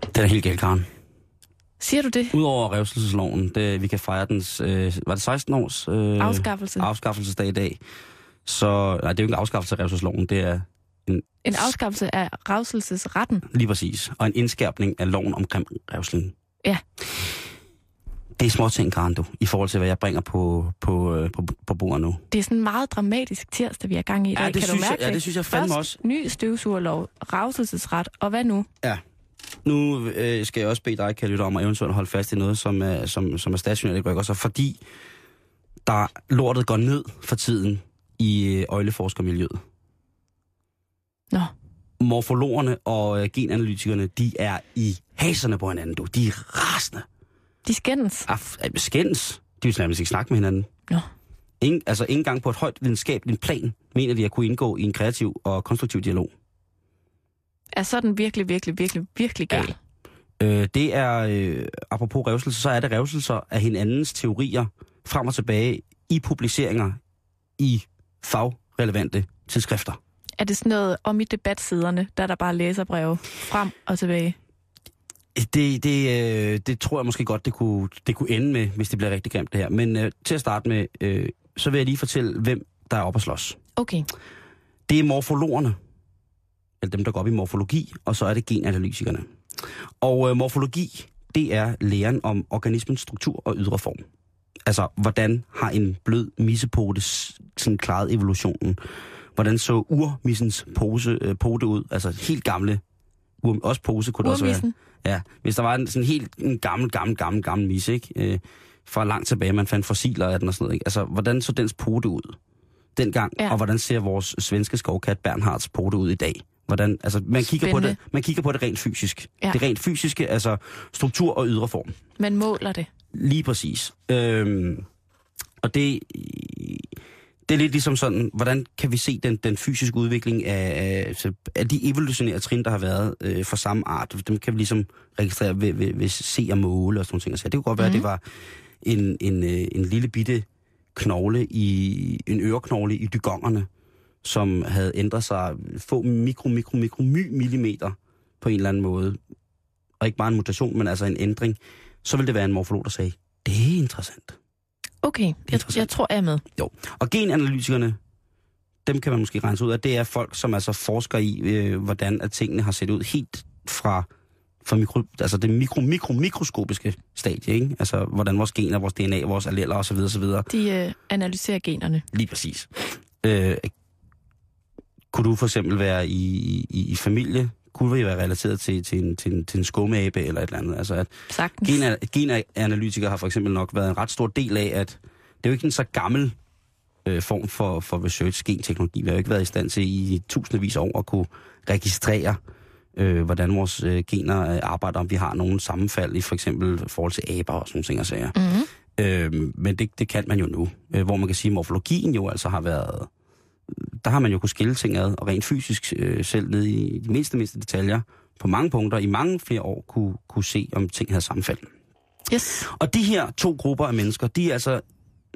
Det er da helt galt, Karen.
Siger du det?
Udover revselsesloven, det, vi kan fejre dens, øh, var det 16 års øh,
Afskaffelse.
afskaffelsesdag i dag, så, nej, det er jo ikke en afskaffelse af revselsesloven, det er en,
En afskaffelse af revselsesretten.
lige præcis, og en indskærpning af loven omkring revsling.
Ja.
Det er små ting, Karen, du, i forhold til, hvad jeg bringer på, på, øh, på, på bordet nu.
Det er sådan en meget dramatisk tirsdag, vi er gang i i dag.
Ja, det
kan
synes
du
jeg-
mærke
ja, det synes jeg fandme
Først
også.
ny støvsugerlov, revselsesret, og hvad nu?
Nu øh, skal jeg også bede dig, kan lytte om at eventuelt holde fast i noget, som er, som, som er stationært, ikke også? Fordi der lortet går ned for tiden i øh, øjleforskermiljøet.
Nå,
morfologerne og øh, genanalytikerne, de er i haserne på hinanden, du. De er rasende.
de skændes.
Af, af skændes. De vil nærmest ikke snakke med hinanden.
Nå.
Ingen, altså ikke engang på et højt videnskabeligt plan, mener de at kunne indgå i en kreativ og konstruktiv dialog.
Er sådan virkelig, virkelig, virkelig, virkelig gal.
Ja. Øh, det er, øh, apropos revselser, så er det revselser af hinandens teorier frem og tilbage i publiceringer i fagrelevante tidsskrifter.
Er det sådan noget om i debatsiderne, der er der bare læserbreve frem og tilbage?
Det, det, øh, det tror jeg måske godt, det kunne, det kunne ende med, hvis det bliver rigtig grimt det her. Men øh, til at starte med, øh, så vil jeg lige fortælle, hvem der er oppe at slås.
Okay.
Det er morfologerne, eller dem, der går op i morfologi, og så er det genanalytikerne. Og øh, morfologi, det er læren om organismens struktur og ydre form. Altså, hvordan har en blød missepote s- sådan klaret evolutionen? Hvordan så urmissens pose, øh, pote ud? Altså, helt gamle, ur, også pose kunne det også være.
Urmissen.
Ja, hvis der var en sådan helt en gammel, gammel, gammel, gammel mis, ikke? Øh, fra langt tilbage, man fandt fossiler af den og sådan noget, ikke? Altså, hvordan så dens pote ud dengang,
Ja.
ja. og hvordan ser vores svenske skovkat Bernhards pote ud i dag? Hvordan, altså, man kigger, på
Spændende.
det, man kigger på det rent fysisk.
Ja.
Ja. Det rent fysiske, altså struktur og ydre form.
Man måler det.
Lige præcis. Øhm, og det, det er lidt ligesom sådan, hvordan kan vi se den, den fysiske udvikling af, af, altså, af de evolutionære trin, der har været øh, for samme art? Dem kan vi ligesom registrere ved, ved, ved se og måle og sådan nogle ting. Så det kunne godt være, mm. det var en, en, øh, en lille bitte knogle i, en øreknogle i dygongerne, som havde ændret sig få mikro, mikro, mikro, my millimeter på en eller anden måde. Og ikke bare en mutation, men altså en ændring så ville det være en morfolog, der sagde, det er interessant.
Okay, jeg,
interessant.
jeg tror, jeg er med.
Og genanalytikerne, dem kan man måske rense ud af, det er folk, som altså forsker i, øh, hvordan at tingene har set ud helt fra, fra mikro, altså det mikro, mikro, mikroskopiske stadie, ikke? Altså, hvordan vores gener, vores DNA, vores alleler osv. osv.
De øh, analyserer generne.
Lige præcis. Øh, kunne du for eksempel være i, i, i familie? Kunne vi være relateret til, til en, til en, til en skumabe eller et eller andet? Altså, at
Sagtens.
Gena- Genanalytikere har for eksempel nok været en ret stor del af, at det er jo ikke en så gammel øh, form for, for research, genteknologi. Vi har jo ikke været i stand til i tusindvis af år at kunne registrere, øh, hvordan vores øh, gener øh, arbejder, om vi har nogle sammenfald i for eksempel forhold til aber og sådan nogle ting og sager.
Mm-hmm.
Øh, men det, det kan man jo nu, øh, hvor man kan sige, at morfologien jo altså har været... Der har man jo kunnet skille ting ad, og rent fysisk øh, selv ned i de mindste, mindste detaljer, på mange punkter, i mange flere år, kunne, kunne se, om ting havde sammenfald.
Yes.
Og de her to grupper af mennesker, de er altså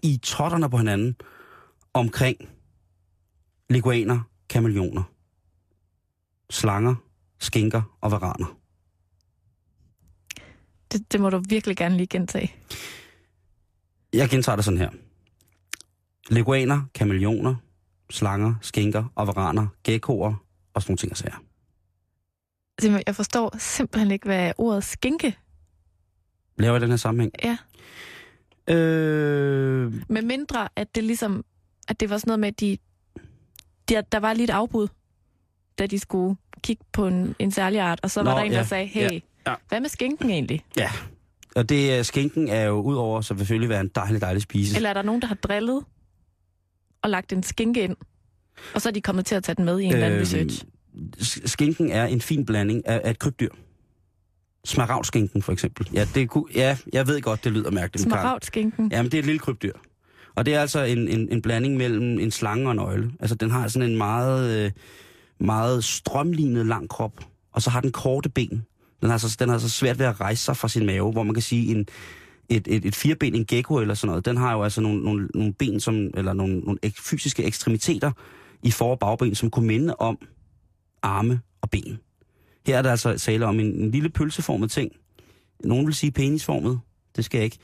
i totterne på hinanden omkring leguaner, kameleoner, slanger, skinker og varaner.
Det, det må du virkelig gerne lige gentage.
Jeg gentager det sådan her. Leguaner, kameleoner, slanger, skinker, avaraner, geckoer og sådan nogle ting og sager.
Simon, Jeg forstår simpelthen ikke, hvad ordet skinke
Laver jeg den her sammenhæng?
er.
Øh,
Med mindre, at det ligesom, at det var sådan noget med, at de, de, at der var lige et afbud, da de skulle kigge på en, en særlig art, og så Nå,
Nå,
var der en, der
ja,
sagde, hey, ja,
ja. Mm.
ja. hvad med skinken egentlig?
ja. Og det, øh, skinken er jo udover, så selvfølgelig være en dejlig, dejlig spise.
Eller er der nogen, der har drillet og lagt en skinke ind, og så er de kommet til at tage den med i en øh, eller
Øhm,
anden research?
s- Skinken er en fin blanding af, af et krybdyr. Smaragdskinken for eksempel. Ja, det kunne, ja, jeg ved godt, det lyder mærkeligt. men Karen-
Smaragdskinken? Ja.
Jamen, det er et lille krybdyr. Og det er altså en, en, en blanding mellem en slange og en øgle. Altså, den har sådan en meget, øh, meget strømlignet lang krop, og så har den korte ben. Den har, så, den har så svært ved at rejse sig fra sin mave, hvor man kan sige, en, et, et, et fireben, en gecko eller sådan noget, den har jo altså nogle, nogle, nogle ben, som, eller nogle, nogle ek, fysiske ekstremiteter i for- og bagben, som kunne minde om arme og ben. Her er der altså tale om en, en lille pølseformet ting. Nogen vil sige penisformet. Det skal jeg ikke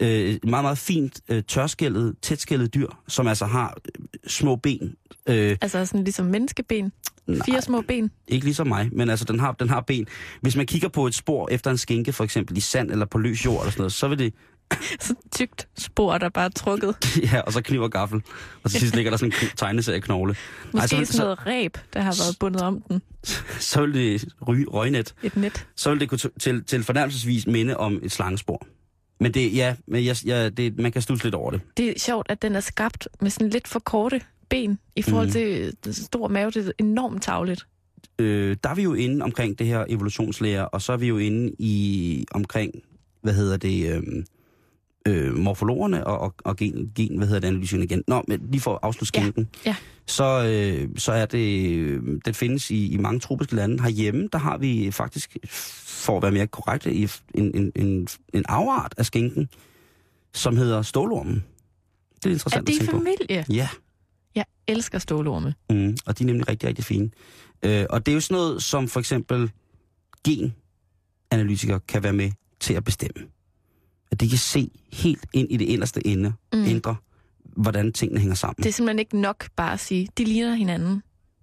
øh, et meget, meget fint øh, tørskældet, tætskældet dyr, som altså har øh, små ben. Øh,
Altså sådan ligesom menneskeben?
Nej.
Fire små ben?
ikke ligesom mig, men altså den har, den har ben. Hvis man kigger på et spor efter en skinke, for eksempel i sand eller på løs jord eller sådan noget, så vil det... [LAUGHS]
Så tykt spor, der bare er trukket.
Ja, og så kniver gaffel. Og til sidst ligger der sådan en kn- tegneserie knogle. Ej,
Måske
så,
Ej,
vil-
sådan noget ræb, der har været bundet om den.
så, så vil det ryge røgnet.
Et net.
Så vil det kunne t- til, til fornærmelsesvis minde om et slangespor. Men det, ja, men jeg, jeg, det, man kan studse lidt over det.
Det er sjovt, at den er skabt med sådan lidt for korte ben i forhold
Mhm.
mm. til øh, den store mave. Det er enormt tavligt.
øh, der er vi jo inde omkring det her evolutionslære, og så er vi jo inde i omkring, hvad hedder det, øh, øh, morfologerne og, og, og gen, gen, hvad hedder det, analysen igen. Nå, men lige for at afslutte
Ja,
skænken.
ja.
Så, øh, så er det, øh, det findes i, i mange tropiske lande. Herhjemme, der har vi faktisk, for at være mere korrekte, i f- en, en, en, en afart af skænken, som hedder stålormen. Det er
Er
interessant
det
at
i
tænke
familie?
på. Ja.
Jeg elsker stålorme.
Mm, og de er nemlig rigtig, rigtig fine. Øh, og det er jo sådan noget, som for eksempel genanalytikere kan være med til at bestemme. At de kan se helt ind i det inderste ende, mm.
Mm.
indre, hvordan tingene hænger sammen.
Det
Det...
er simpelthen ikke nok bare at sige, de ligner hinanden. De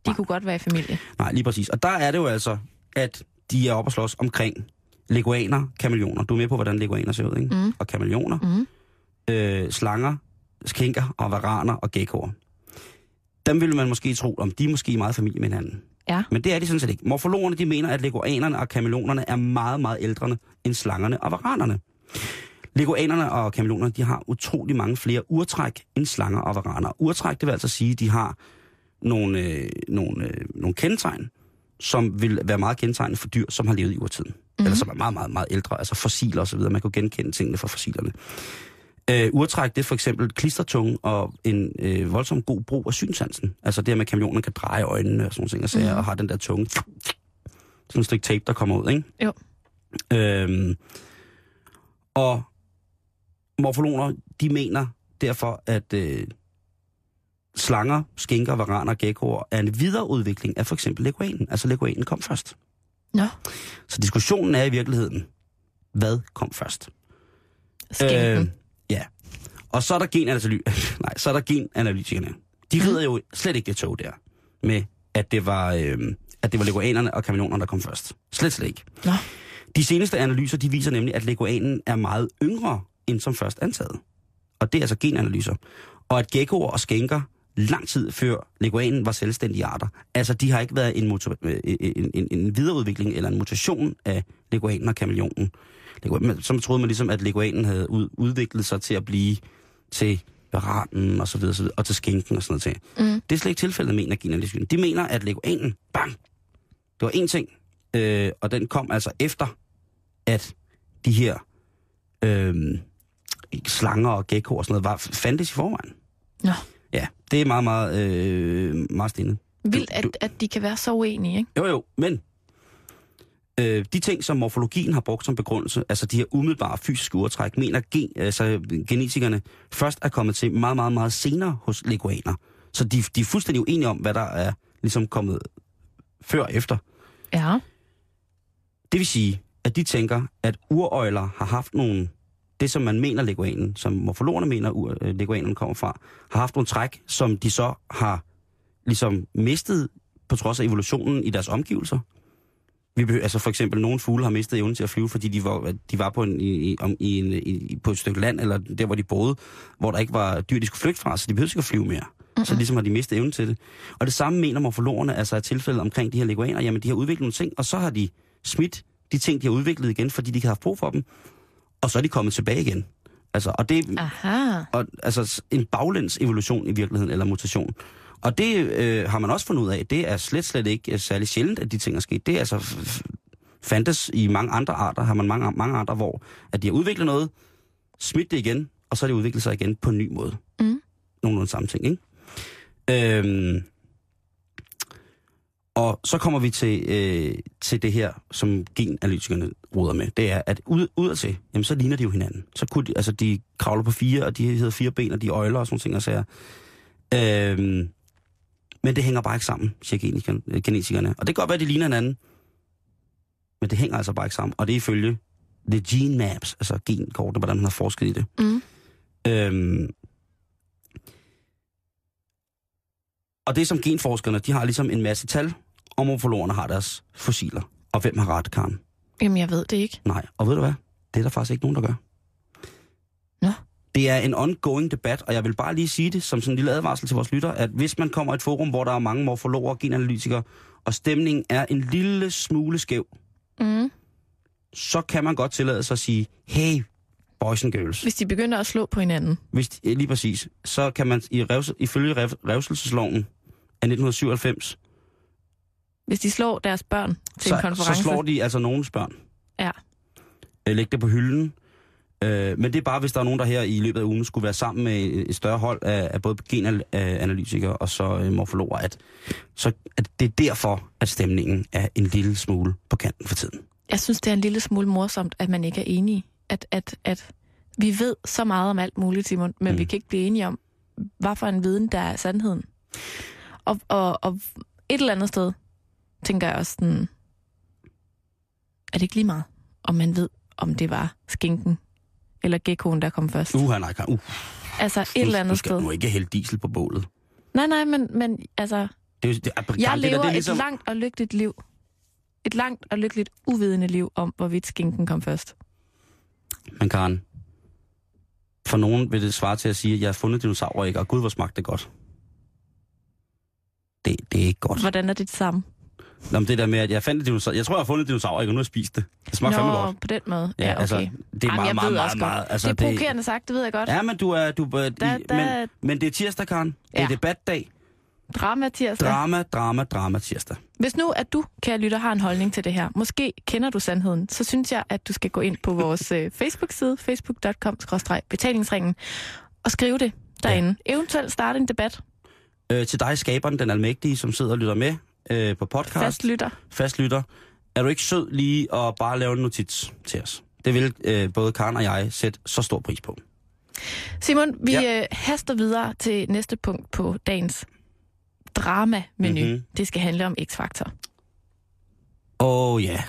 Nej.
kunne godt være i familie.
Nej, lige præcis. Og der er det jo altså, at de er oppe og slås omkring leguaner, kameleoner. Du er med på, hvordan leguaner ser ud, ikke?
Mm.
Og kameleoner.
Mm.
øh, slanger, skinker og varaner og geckoer. Dem ville man måske tro, om de er måske meget familie med hinanden.
Ja.
Men det er de sådan set ikke. Morfologerne de mener, at leguanerne og kameleonerne er meget, meget ældre end slangerne og varanerne. Leguanerne og kameleonerne de har utrolig mange flere urtræk end slanger og varaner. Urtræk, det vil altså sige, at de har nogle, øh, nogle, øh, nogle kendetegn, som vil være meget kendetegnende for dyr, som har levet i urtiden. Mm-hmm. Eller som er meget, meget, meget ældre, altså fossiler osv. Man kan jo genkende tingene fra fossilerne. Øh, urtræk, det er for eksempel klistertunge og en øh, voldsom god brug af synsansen. Altså det her med, at kameleonen kan dreje øjnene og sådan nogle ting, og, sager, og har den der tunge. Sådan et stykke tape, der kommer ud, ikke?
Jo.
Øhm, og morfologer, de mener derfor, at øh, slanger, skinker, varaner og geckoer er en videreudvikling af for eksempel leguanen. Altså leguanen kom først.
Nå,
Så diskussionen er i virkeligheden, hvad kom først?
skænken.
Øh, ja. Og så er der genanalytikerne. [LAUGHS] Nej, så er der genanalytikerne. De rider jo slet ikke det tog der med, at det var, øh, at det var leguanerne og kameleonerne, der kom først. Slet, slet ikke.
Nå.
De seneste analyser, de viser nemlig, at leguanen er meget yngre, end som først antaget. Og det er altså genanalyser. Og at geckoer og skænker lang tid før leguanen var selvstændige arter. Altså, de har ikke været en, motor, øh, en, en, en videreudvikling eller en mutation af leguanen og kameleonen. Leguan- men Så troede man ligesom, at leguanen havde ud, udviklet sig til at blive til varanen og så videre, så videre, og til skinken og sådan noget ting. Mm. Det er slet ikke tilfældet, mener genanalytikerne. De mener, at leguanen, bang, det var én ting, øh, og den kom altså efter, at de her øh, slanger og geckoer og sådan noget var, fandtes i forvejen.
Nå.
Ja, det er meget, meget, øh, meget stenet.
Vildt,
du-
at, at de kan være så uenige, ikke?
Jo, jo, men øh, de ting, som morfologien har brugt som begrundelse, altså de her umiddelbare fysiske urtræk, mener gen, altså, genetikerne først er kommet til meget, meget, meget senere hos leguaner. Så de, de er fuldstændig uenige om, hvad der er ligesom kommet før og efter.
Ja.
Det vil sige, at de tænker, at urøjler har haft nogle det, som man mener leguanen, som morfologerne mener, ur- øh, leguanen kommer fra, har haft nogle træk, som de så har ligesom mistet på trods af evolutionen i deres omgivelser. Vi behøver, altså for eksempel, nogle fugle har mistet evnen til at flyve, fordi de var, de var på, en, i, i- om, i en, i, på et stykke land, eller der, hvor de boede, hvor der ikke var dyr, de skulle flygte fra, så de behøvede ikke at flyve mere. Mm-hmm. Så ligesom har de mistet evnen til det. Og det samme mener morfologerne, altså er tilfældet omkring de her leguaner, jamen de har udviklet nogle ting, og så har de smidt de ting, de har udviklet igen, fordi de ikke har haft brug for dem, og så er de kommet tilbage igen. Altså, og det,
Aha.
og, altså s- en baglæns evolution i virkeligheden, eller mutation. Og det øh, har man også fundet ud af. Det er slet, slet ikke øh, særlig sjældent, at de ting er sket. Det er altså f- f- fandtes i mange andre arter, har man mange, mange arter, hvor at de har udviklet noget, smidt det igen, og så har de udviklet sig igen på en ny måde.
Mm.
Nogenlunde samme ting, ikke? Øhm, og så kommer vi til, øh, til det her, som genanalytikerne ruder med. Det er, at ud, udadtil, jamen så ligner de jo hinanden. Så kunne de, altså de kravler på fire, og de hedder fire ben, og de er øjler og sådan nogle ting og sager. Øhm, men det hænger bare ikke sammen, siger genikerne- øh, genetikerne. Og det kan godt være, at de ligner hinanden, men det hænger altså bare ikke sammen. Og det er ifølge The Gene Maps, altså genkortet, hvordan man har forsket i det.
Mm.
Øhm, og det er som genforskerne, de har ligesom en masse tal, og morfologerne har deres fossiler. Og hvem har ret, Karen?
Jamen, jeg ved det ikke.
Nej. Og ved du hvad? Det er der faktisk ikke nogen, der gør.
Nå.
Det er en ongoing debat, og jeg vil bare lige sige det som sådan en lille advarsel til vores lytter, at hvis man kommer i et forum, hvor der er mange morfologer og genanalytikere, og stemningen er en lille smule skæv,
Mm.
så kan man godt tillade sig at sige, hey, boys and girls.
Hvis de begynder at slå på hinanden.
Hvis, de- lige præcis. Så kan man i revs, ifølge rev, revselsesloven af 1997,
Hvis de slår deres børn til en
så, så
konference.
slår de altså nogens børn.
Ja.
Øh, Læg det på hylden. Øh, men det er bare, hvis der er nogen, der her i løbet af ugen skulle være sammen med et større hold af, af både genanalytikere og så øh, morfologer, at, så, at det er derfor, at stemningen er en lille smule på kanten for tiden.
Jeg synes, det er en lille smule morsomt, at man ikke er enige. At, at, at vi ved så meget om alt muligt, Simon, men
Mm.
mm. vi kan ikke blive enige om, hvad for en viden, der er sandheden. Og, og, og et eller andet sted, tænker jeg også sådan, er det ikke lige meget, om man ved, om det var skinken eller gekkoen, der kom først.
Uha, nej, Karen. uh,
Altså et
nu-
eller
nu
andet
skal
sted.
du må ikke hælde diesel på bålet.
Nej, nej, men, men altså,
Det, er jo- det, er- Karen,
jeg
det, der,
lever
det er
et
ligesom,
langt og lykkeligt liv. Et langt og lykkeligt uvidende liv om, hvorvidt skinken kom først.
Men Karen, for nogen vil det svare til at sige, at jeg har fundet dinosaurer, ikke? Og gud, hvor smagte det godt. Det, det er ikke godt.
Hvordan er det det samme?
Nå, men det der med, at jeg fandt et dinosaur. Jeg tror, jeg har fundet et dinosaur, ikke? Og nu har jeg spist det. Det smager fandme godt.
på den måde.
Ja, altså, det er meget,
jeg
meget,
ved
meget,
også
meget,
godt.
altså,
det
det-
er provokerende sagt, det ved jeg godt. Ja.
Ja, men du er... Du, da,
Da- da-
men, men det er tirsdag, Karen. Det er
Ja.
debatdag.
Drama, tirsdag.
Drama, drama, drama tirsdag.
Hvis nu, at du, kære lytter, har en holdning til det her, måske kender du sandheden, så synes jeg, at du skal gå ind på vores øh, Facebook-side, facebook.com-betalingsringen, og skrive det derinde. Ja. Eventuelt starte en debat.
Øh, til dig, skaberen, den almægtige, som sidder og lytter med øh, på podcast.
Fast lytter.
fastlytter, er du ikke sød lige at bare lave en notits til os? Det vil øh, både Karen og jeg sætte så stor pris på.
Simon, vi
Ja.
ja. øh, haster videre til næste punkt på dagens drama-menu.
Mhm.
Mm-hmm. Det skal handle om X-Factor.
Åh oh, ja. Yeah.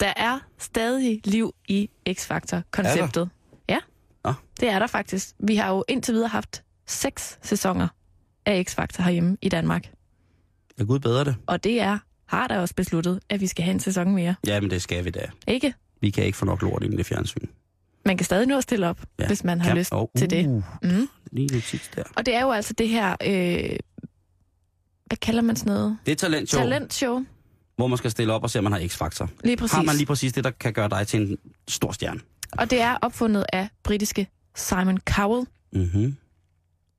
Der er stadig liv i X-Factor-konceptet. Ja,
Nå.
det er der faktisk. Vi har jo indtil videre haft seks sæsoner af X-Factor herhjemme i Danmark.
Ja, Gud bedre det.
Og det er, har der også besluttet, at vi skal have en sæson mere.
Ja, men det skal vi da.
Ikke?
Vi kan ikke få nok lort ind i det fjernsyn.
Man kan stadig nå at stille op,
Ja,
ja. hvis man har
Kan-
lyst
Åh,
til det.
Uh,
Mm.
lige en notits der.
Og det er jo altså det her, øh, hvad kalder man sådan noget?
Det er talentshow, Talent.
Talentshow.
hvor man skal stille op og se, om man har x-faktor.
Lige præcis.
Har man lige præcis det, der kan gøre dig til en stor stjerne?
Og det er opfundet af britiske Simon Cowell.
Mhm.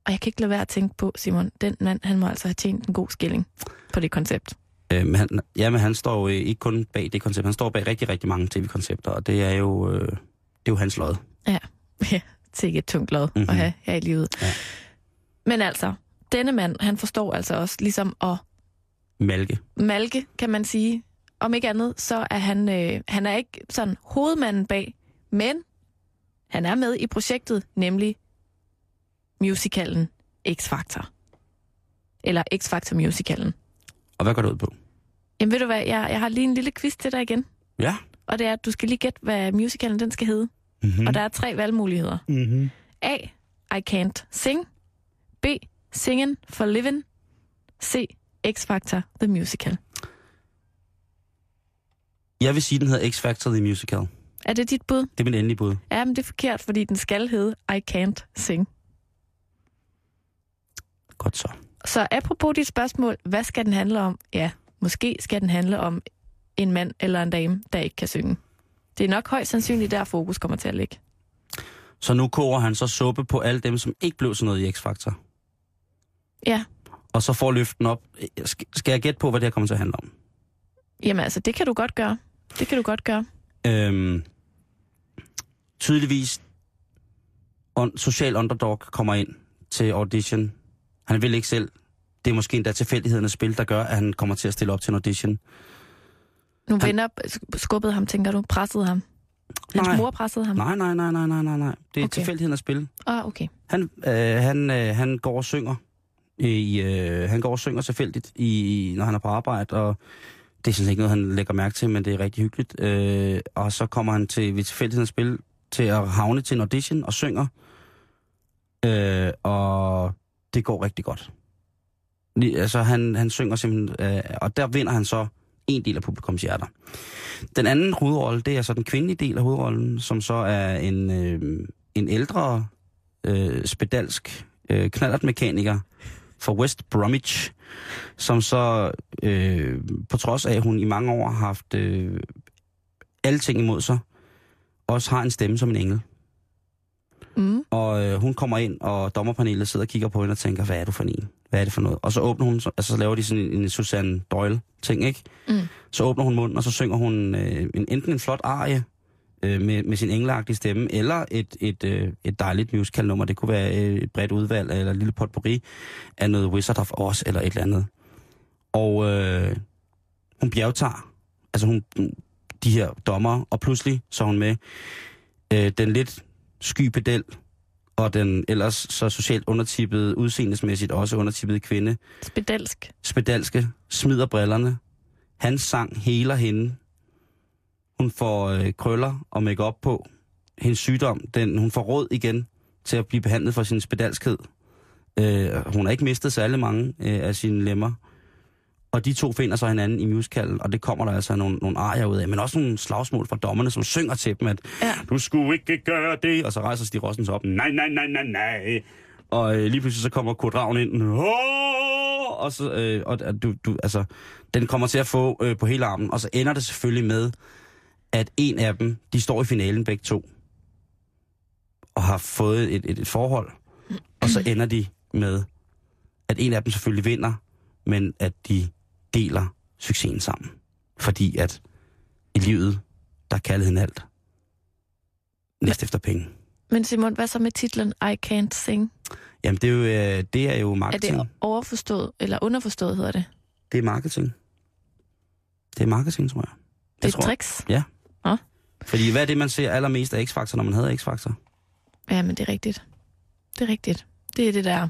Og jeg kan ikke lade være at tænke på, Simon, den mand, han må altså have tjent en god skilling på det koncept.
Øhm, han, ja, men han står jo øh, ikke kun bag det koncept. Han står bag rigtig, rigtig mange tv-koncepter, og det er jo, øh, det er jo hans lod.
Sikke et tungt lod
Mhm.
mm-hmm. at have her i livet.
Ja.
Men altså, denne mand, han forstår altså også ligesom at
Malke.
malke, kan man sige. Om ikke andet, så er han, øh, han er ikke sådan hovedmanden bag, men han er med i projektet, nemlig musicalen X-Factor. Eller X-Factor musicalen.
Og hvad går det ud på?
Jamen ved du hvad, jeg, jeg har lige en lille quiz til dig igen.
Ja.
Og det er, at du skal lige gætte, hvad musicalen den skal hedde. Mm-hmm. Og der er tre valgmuligheder.
Mm-hmm.
A. I can't sing. B. Singing for living. C. X Factor The Musical.
Jeg vil sige, den hedder X Factor The Musical.
Er det dit bud?
Det er mit endelige bud.
Ja, men det er forkert, fordi den skal hedde I can't sing.
Godt så.
Så apropos dit spørgsmål, hvad skal den handle om? Ja, måske skal den handle om en mand eller en dame, der ikke kan synge. Det er nok højst sandsynligt, der fokus kommer til at ligge.
Så nu koger han så suppe på alle dem, som ikke blev sådan noget i X Factor.
Ja,
Og så får løften op. Sk- Skal jeg gætte på, hvad det her kommer til at handle om?
jamen altså, det kan du godt gøre. Det kan du godt gøre.
Øhm, tydeligvis on, social underdog kommer ind til audition. Han vil ikke selv. Det er måske endda tilfældighedernes spil, der gør, at han kommer til at stille op til en audition.
Mm. Nu
Han-
vender skubbede ham, tænker du. Pressede ham. Hans
Nej.
mor pressede ham.
Nej, nej, nej, nej, nej, nej, nej. Det er okay.
Okay.
tilfældighedernes spil.
Ah, okay.
Han, øh, han, øh, han går og synger. I, øh, han går og synger tilfældigt, i, når han er på arbejde, og det er sådan set ikke noget, han lægger mærke til, men det er rigtig hyggeligt. Øh, og så kommer han til, ved tilfældighedens spil til at havne til en audition og synger. Øh, og det går rigtig godt. Lige- Altså, han, han synger simpelthen, øh, og der vinder han så en del af publikums hjerter. Den anden hovedrolle, det er så den kvindelige del af hovedrollen, som så er en, øh, en ældre øh, spedalsk øh, knallertmekaniker fra West Bromwich, som så øh, på trods af, at hun i mange år har haft øh, alle ting imod sig, også har en stemme som en engel.
Mm.
Og øh, hun kommer ind, og dommerpanelet sidder og kigger på hende og tænker, hvad er du for en? Hvad er det for noget? Og så åbner hun, altså så laver de sådan en, en Susanne Doyle-ting, ikke?
Mm.
Så åbner hun munden, og så synger hun øh, en, enten en flot arie øh, med, med sin engleagtige stemme, eller et, et, øh, et dejligt musical-nummer. Det kunne være øh, et bredt udvalg, eller et lille potpourri af noget Wizard of Oz, eller et eller andet. Og øh, hun bjergtager, altså hun, de her dommer, og pludselig så er hun med øh, den lidt sky pedel, og den ellers så socialt undertippede, udseendesmæssigt også undertippede kvinde,
Spedalsk.
spedalske, smider brillerne. Hans sang heler hende. Hun får øh, krøller og makeup på. Hendes sygdom, den, hun får råd igen til at blive behandlet for sin spedalskhed. Øh, hun har ikke mistet særlig mange øh, af sine lemmer. Og de to finder så hinanden i musicalen, og det kommer der altså nogle, nogle arier ud af, men også nogle slagsmål fra dommerne, som synger til dem, at
Ja.
du skulle ikke gøre det, og så rejser Stig Rossen sig op, nej, nej, nej, nej, nej. Og øh, lige pludselig så kommer Kurt Ravn ind, Åh! og så, øh, og øh, du, du, altså, den kommer til at få øh, på hele armen, og så ender det selvfølgelig med, at en af dem, de står i finalen begge to, og har fået et, et, et forhold, og så ender de med, at en af dem selvfølgelig vinder, men at de deler succesen sammen. Fordi at i livet, der er kærligheden alt. Næst efter penge.
Men Simon, hvad så med titlen I can't sing?
Jamen, det er jo, øh, det er jo
Er
marketing.
det overforstået, eller underforstået hedder det?
Det er marketing. Det er marketing, tror jeg.
Det er et
tror,
tricks.
Fordi hvad er det, man ser allermest af X-Factor, når man havde X-Factor?
Ja, men det er rigtigt. Det er rigtigt. Det er det der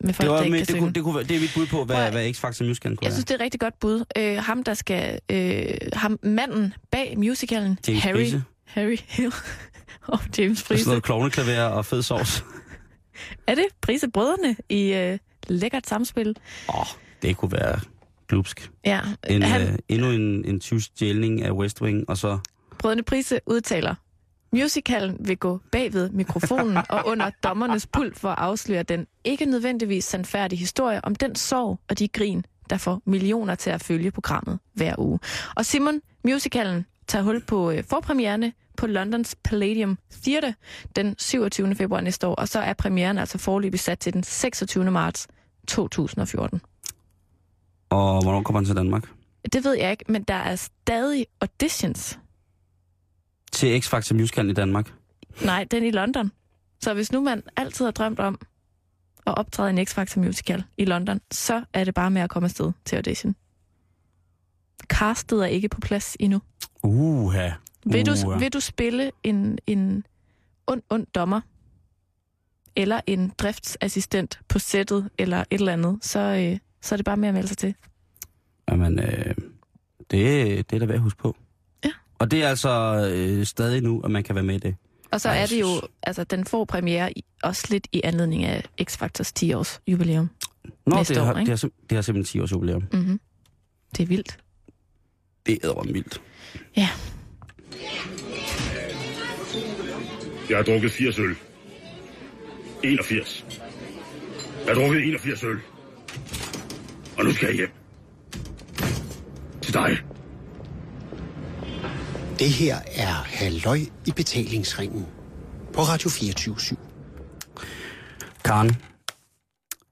med
Det,
folk, det
var,
der ikke
med,
kan
det,
synge.
kunne, det, kunne, være- det er mit bud på,
Prøv
hvad,
at-
hvad X-Factor musicalen kunne
Jeg
være.
synes, det er et rigtig godt bud. Øh, ham, der skal... Øh, ham, manden bag musicalen,
James
Harry,
Price.
Harry Hill [LAUGHS] og
Og
James
sådan
Frise.
noget klovneklaver og fed sovs.
Er det Prise Brødrene i øh, lækkert samspil?
Åh, oh, det kunne være glupsk.
Ja,
En,
han,
øh, endnu en, en tyvstjælning af West Wing, og så...
Brødrene Prise udtaler, musicalen vil gå bagved mikrofonen og under dommernes pult for at afsløre den ikke nødvendigvis sandfærdige historie om den sorg og de grin, der får millioner til at følge programmet hver uge. Og Simon, musicalen tager hul på øh, forpremierne på Londons Palladium Theatre den 27. februar næste år, og så er premieren altså forløbig sat til den 26. marts 2014.
Og hvornår kommer han til Danmark?
Det ved jeg ikke, men der er stadig auditions.
Til X-Factor musicalen i Danmark.
Nej, den i London. Så hvis nu man altid har drømt om at optræde i en X-Factor musical i London, så er det bare med at komme afsted til audition. Castet er ikke på plads endnu.
Uha.
Vil,
Uha.
du, vil du spille en, en ond, ond dommer, eller en driftsassistent på sættet, eller et eller andet, så, øh, så er det bare med at melde sig til.
Jamen, øh, det, det er da værd at huske på.
Ja.
Og det er altså øh, stadig nu, at man kan være med i det.
Og så
Ej,
er det jo,
Jesus.
altså den får premiere i, også lidt i anledning af X-Factors 10-års jubilæum.
Nå,
Næste
det, har,
år,
det,
ikke?
har, sim- det har simpelthen 10 års jubilæum.
Mm-hmm. Det er vildt.
Det er vildt.
Ja.
Jeg har drukket 80 øl. 81. Jeg har drukket 81 øl. Og nu skal jeg hjem. Til dig.
Det her er Halløj i betalingsringen på Radio 24 /7.
Karen,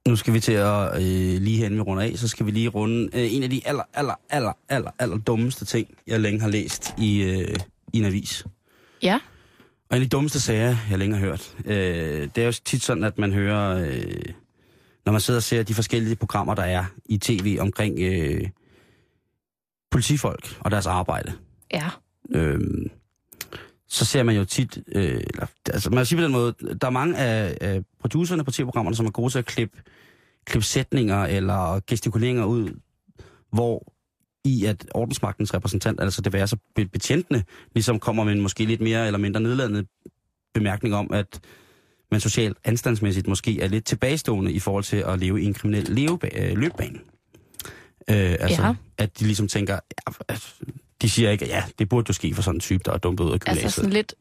nu skal vi til at, øh, lige herinde vi runder af, så skal vi lige runde øh, en af de aller, aller, aller, aller, aller dummeste ting, jeg længe har læst i, øh, i en avis.
Ja.
Og en af de dummeste sager, jeg længe har hørt, øh, det er jo tit sådan, at man hører, øh, når man sidder og ser de forskellige programmer, der er i tv omkring øh, politifolk og deres arbejde.
Ja.
øh, så ser man jo tit, øh, eller, altså man siger på den måde, der er mange af, af producerne på tv-programmerne, som er gode til at klippe, klippe sætninger eller gestikuleringer ud, hvor i at ordensmagtens repræsentant, altså det være så betjentene, ligesom kommer med en måske lidt mere eller mindre nedladende bemærkning om, at man socialt anstandsmæssigt måske er lidt tilbagestående i forhold til at leve i en kriminel leveba- øh, løbbane. Øh, altså,
Ja.
ja. at de ligesom tænker, ja, altså, de siger ikke, ja, det burde jo ske for sådan en type, der er dumpet ud af gymnasiet.
Altså sådan lidt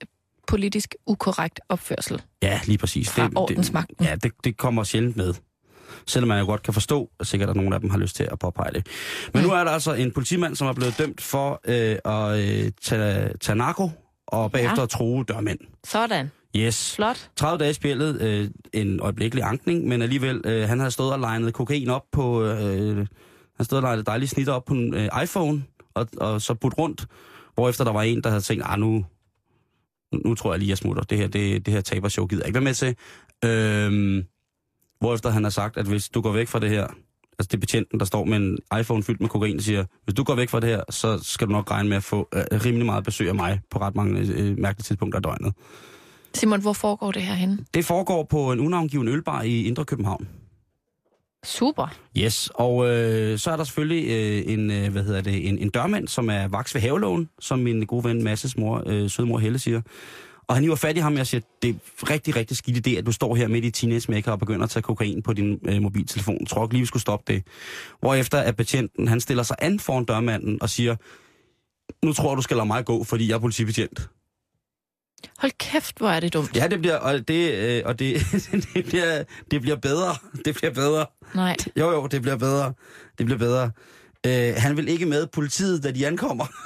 politisk ukorrekt opførsel.
Ja, lige præcis.
Fra ordensmagten.
Det, ja, det, det kommer sjældent med. Selvom man jo godt kan forstå, at sikkert at nogle af dem har lyst til at påpege det. Men nu er der altså en politimand, som er blevet dømt for øh, at øh, tage, tage narko og bagefter ja.
Ja.
at true dørmænd.
Sådan.
Yes.
Flot.
30 dage spillet, øh, en øjeblikkelig ankning, men alligevel, øh, han havde stået og legnet kokain op på, øh, han stod og legnet dejlige snitter op på en øh, iPhone, og, og så budt rundt, hvorefter der var en, der havde tænkt, ah, nu, nu tror jeg lige, jeg smutter, det her, det, det her tabershow gider jeg ikke være med til. Øhm, hvorefter han har sagt, at hvis du går væk fra det her, altså det er betjenten, der står med en iPhone fyldt med kokain, der siger, hvis du går væk fra det her, så skal du nok regne med at få øh, rimelig meget besøg af mig på ret mange øh, mærkelige tidspunkter af døgnet.
Simon, hvor foregår det her henne?
Det foregår på en unavngiven ølbar i Indre København.
Super.
Yes, og øh, så er der selvfølgelig øh, en, øh, hvad hedder det, en, en dørmand, som er vaks ved havelån, som min gode ven Masses mor, øh, sødmor Helle siger. Og han hiver fat i ham, og jeg siger, det er rigtig, rigtig skidt idé, at du står her midt i teenage makeup og begynder at tage kokain på din øh, mobiltelefon. Jeg tror ikke lige, vi skulle stoppe det. Hvorefter at betjenten, han stiller sig an foran dørmanden og siger, nu tror jeg, du skal lade mig gå, fordi jeg er politibetjent.
Hold kæft, hvor er det dumt.
Ja, det bliver, og det, øh, og det, [LAUGHS] det, bliver, det bliver bedre. Det bliver bedre.
Nej.
Jo, jo, det bliver bedre. Det bliver bedre. Øh, han vil ikke med politiet, da de ankommer. [LAUGHS]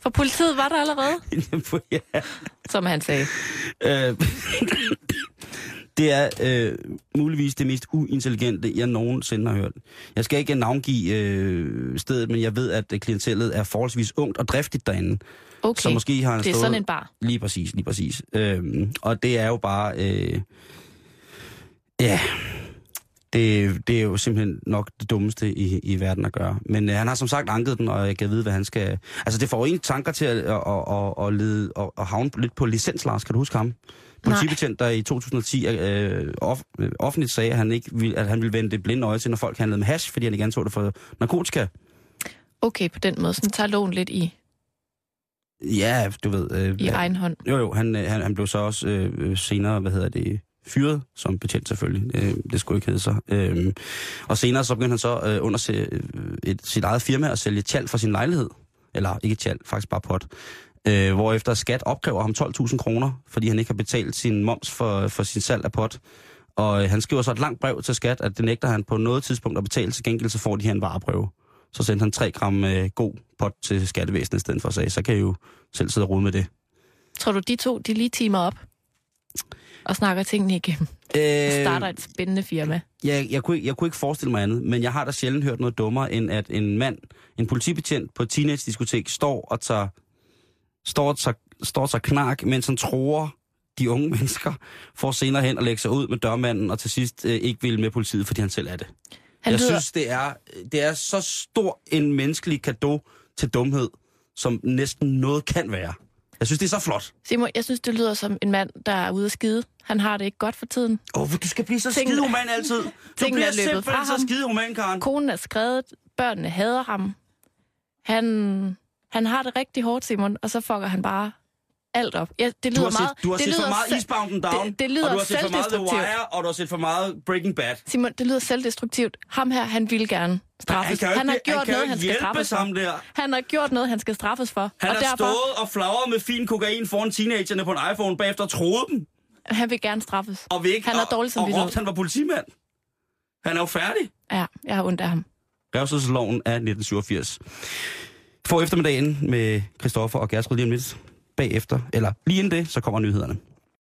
For politiet var der allerede,
ja.
som han sagde.
øh, [LAUGHS] det er øh, muligvis det mest uintelligente, jeg nogensinde har hørt. Jeg skal ikke navngive øh, stedet, men jeg ved, at klientellet er forholdsvis ungt og driftigt derinde.
Okay,
Så måske har han
det er
stået...
sådan en bar.
Lige præcis, lige præcis. Øhm, og det er jo bare... Øh, ja, det, det er jo simpelthen nok det dummeste i, i verden at gøre. Men øh, han har som sagt anket den, og jeg kan vide, hvad han skal... Altså, det får en tanker til at, at, at, at, lede, at, at havne lidt på licens, Lars. Kan du huske ham? Politibetjent, der i 2010 øh, off, øh, offentligt sagde, at han, ikke ville, at han ville vende det blinde øje til, når folk handlede med hash, fordi han ikke anså det for narkotika.
Okay, på den måde. Sådan tager loven lidt i,
Ja, du ved... Øh,
i egen hånd.
Jo, jo, han, øh, han, han blev så også øh, øh, senere, hvad hedder det, fyret som betjent selvfølgelig. Øh, det skulle ikke hedde sig. Øh, og senere så begyndte han så øh, under se, øh, et, sit eget firma at sælge tjal for sin lejlighed. Eller ikke tjal, faktisk bare pot. Øh, hvorefter skat opkræver ham 12.000 kroner, fordi han ikke har betalt sin moms for, for sin salg af pot. Og øh, han skriver så et langt brev til skat, at det nægter han på noget tidspunkt at betale. Til gengæld så får de her en vareprøve. Så sendte han 3 gram øh, god pot til skattevæsenet i stedet for at sige, så kan I jo selv sidde og rode med det.
Tror du, de to, de lige timer op og snakker tingene igennem? Og
Øh,
starter et spændende firma.
jeg, jeg, kunne, ikke- jeg kunne ikke forestille mig andet, men jeg har da sjældent hørt noget dummere, end at en mand, en politibetjent på et teenage-diskotek, står og tager, står og tager, står og tager knark, mens han tror de unge [LAUGHS] mennesker, for senere hen at lægge sig ud med dørmanden, og til sidst øh, ikke vil med politiet, fordi han selv er det.
Han
jeg
lyder,
synes, det er, det er så stor en menneskelig gave til dumhed, som næsten noget kan være. Jeg synes, det er så flot.
Simon, jeg synes, det lyder som en mand, der er ude at skide. Han har det ikke godt for tiden.
Åh, oh, du skal blive så
Tingene-
skide human altid. Du
tingene
bliver
er løbet fra
simpelthen
ham.
så skide human, Karen.
Konen er skrevet, børnene hader ham. Han, han har det rigtig hårdt, Simon, og så fucker han bare alt op. Ja, det lyder
Du har
meget,
set, du har
det
set for
lyder
meget
selv-
Eastbound and Down,
det, det lyder
og du har set for meget The
selvdestruktivt.
Wire, og du har set for meget Breaking Bad.
Simon, det lyder selvdestruktivt. Ham her, han vil gerne straffes.
kan jo
han har
ikke-
gjort
han kan jo
noget,
ikke
han skal
hjælpe
straffes
ham
for.
der.
Han har gjort noget, han skal straffes for.
Han
og
har
derfor,
stået og flagret med fin kokain foran teenagerne på en iPhone, bagefter troede dem,
han vil gerne straffes.
og, vil ikke,
han har
og,
dårlig
og råbte,
samvittighed.
han var politimand. Han er jo færdig.
Ja, jeg har ondt af ham.
Revselsloven af 1987. Få eftermiddagen med Christoffer og Gertrud lige om lidt. Bagefter, eller lige inden det, så kommer nyhederne.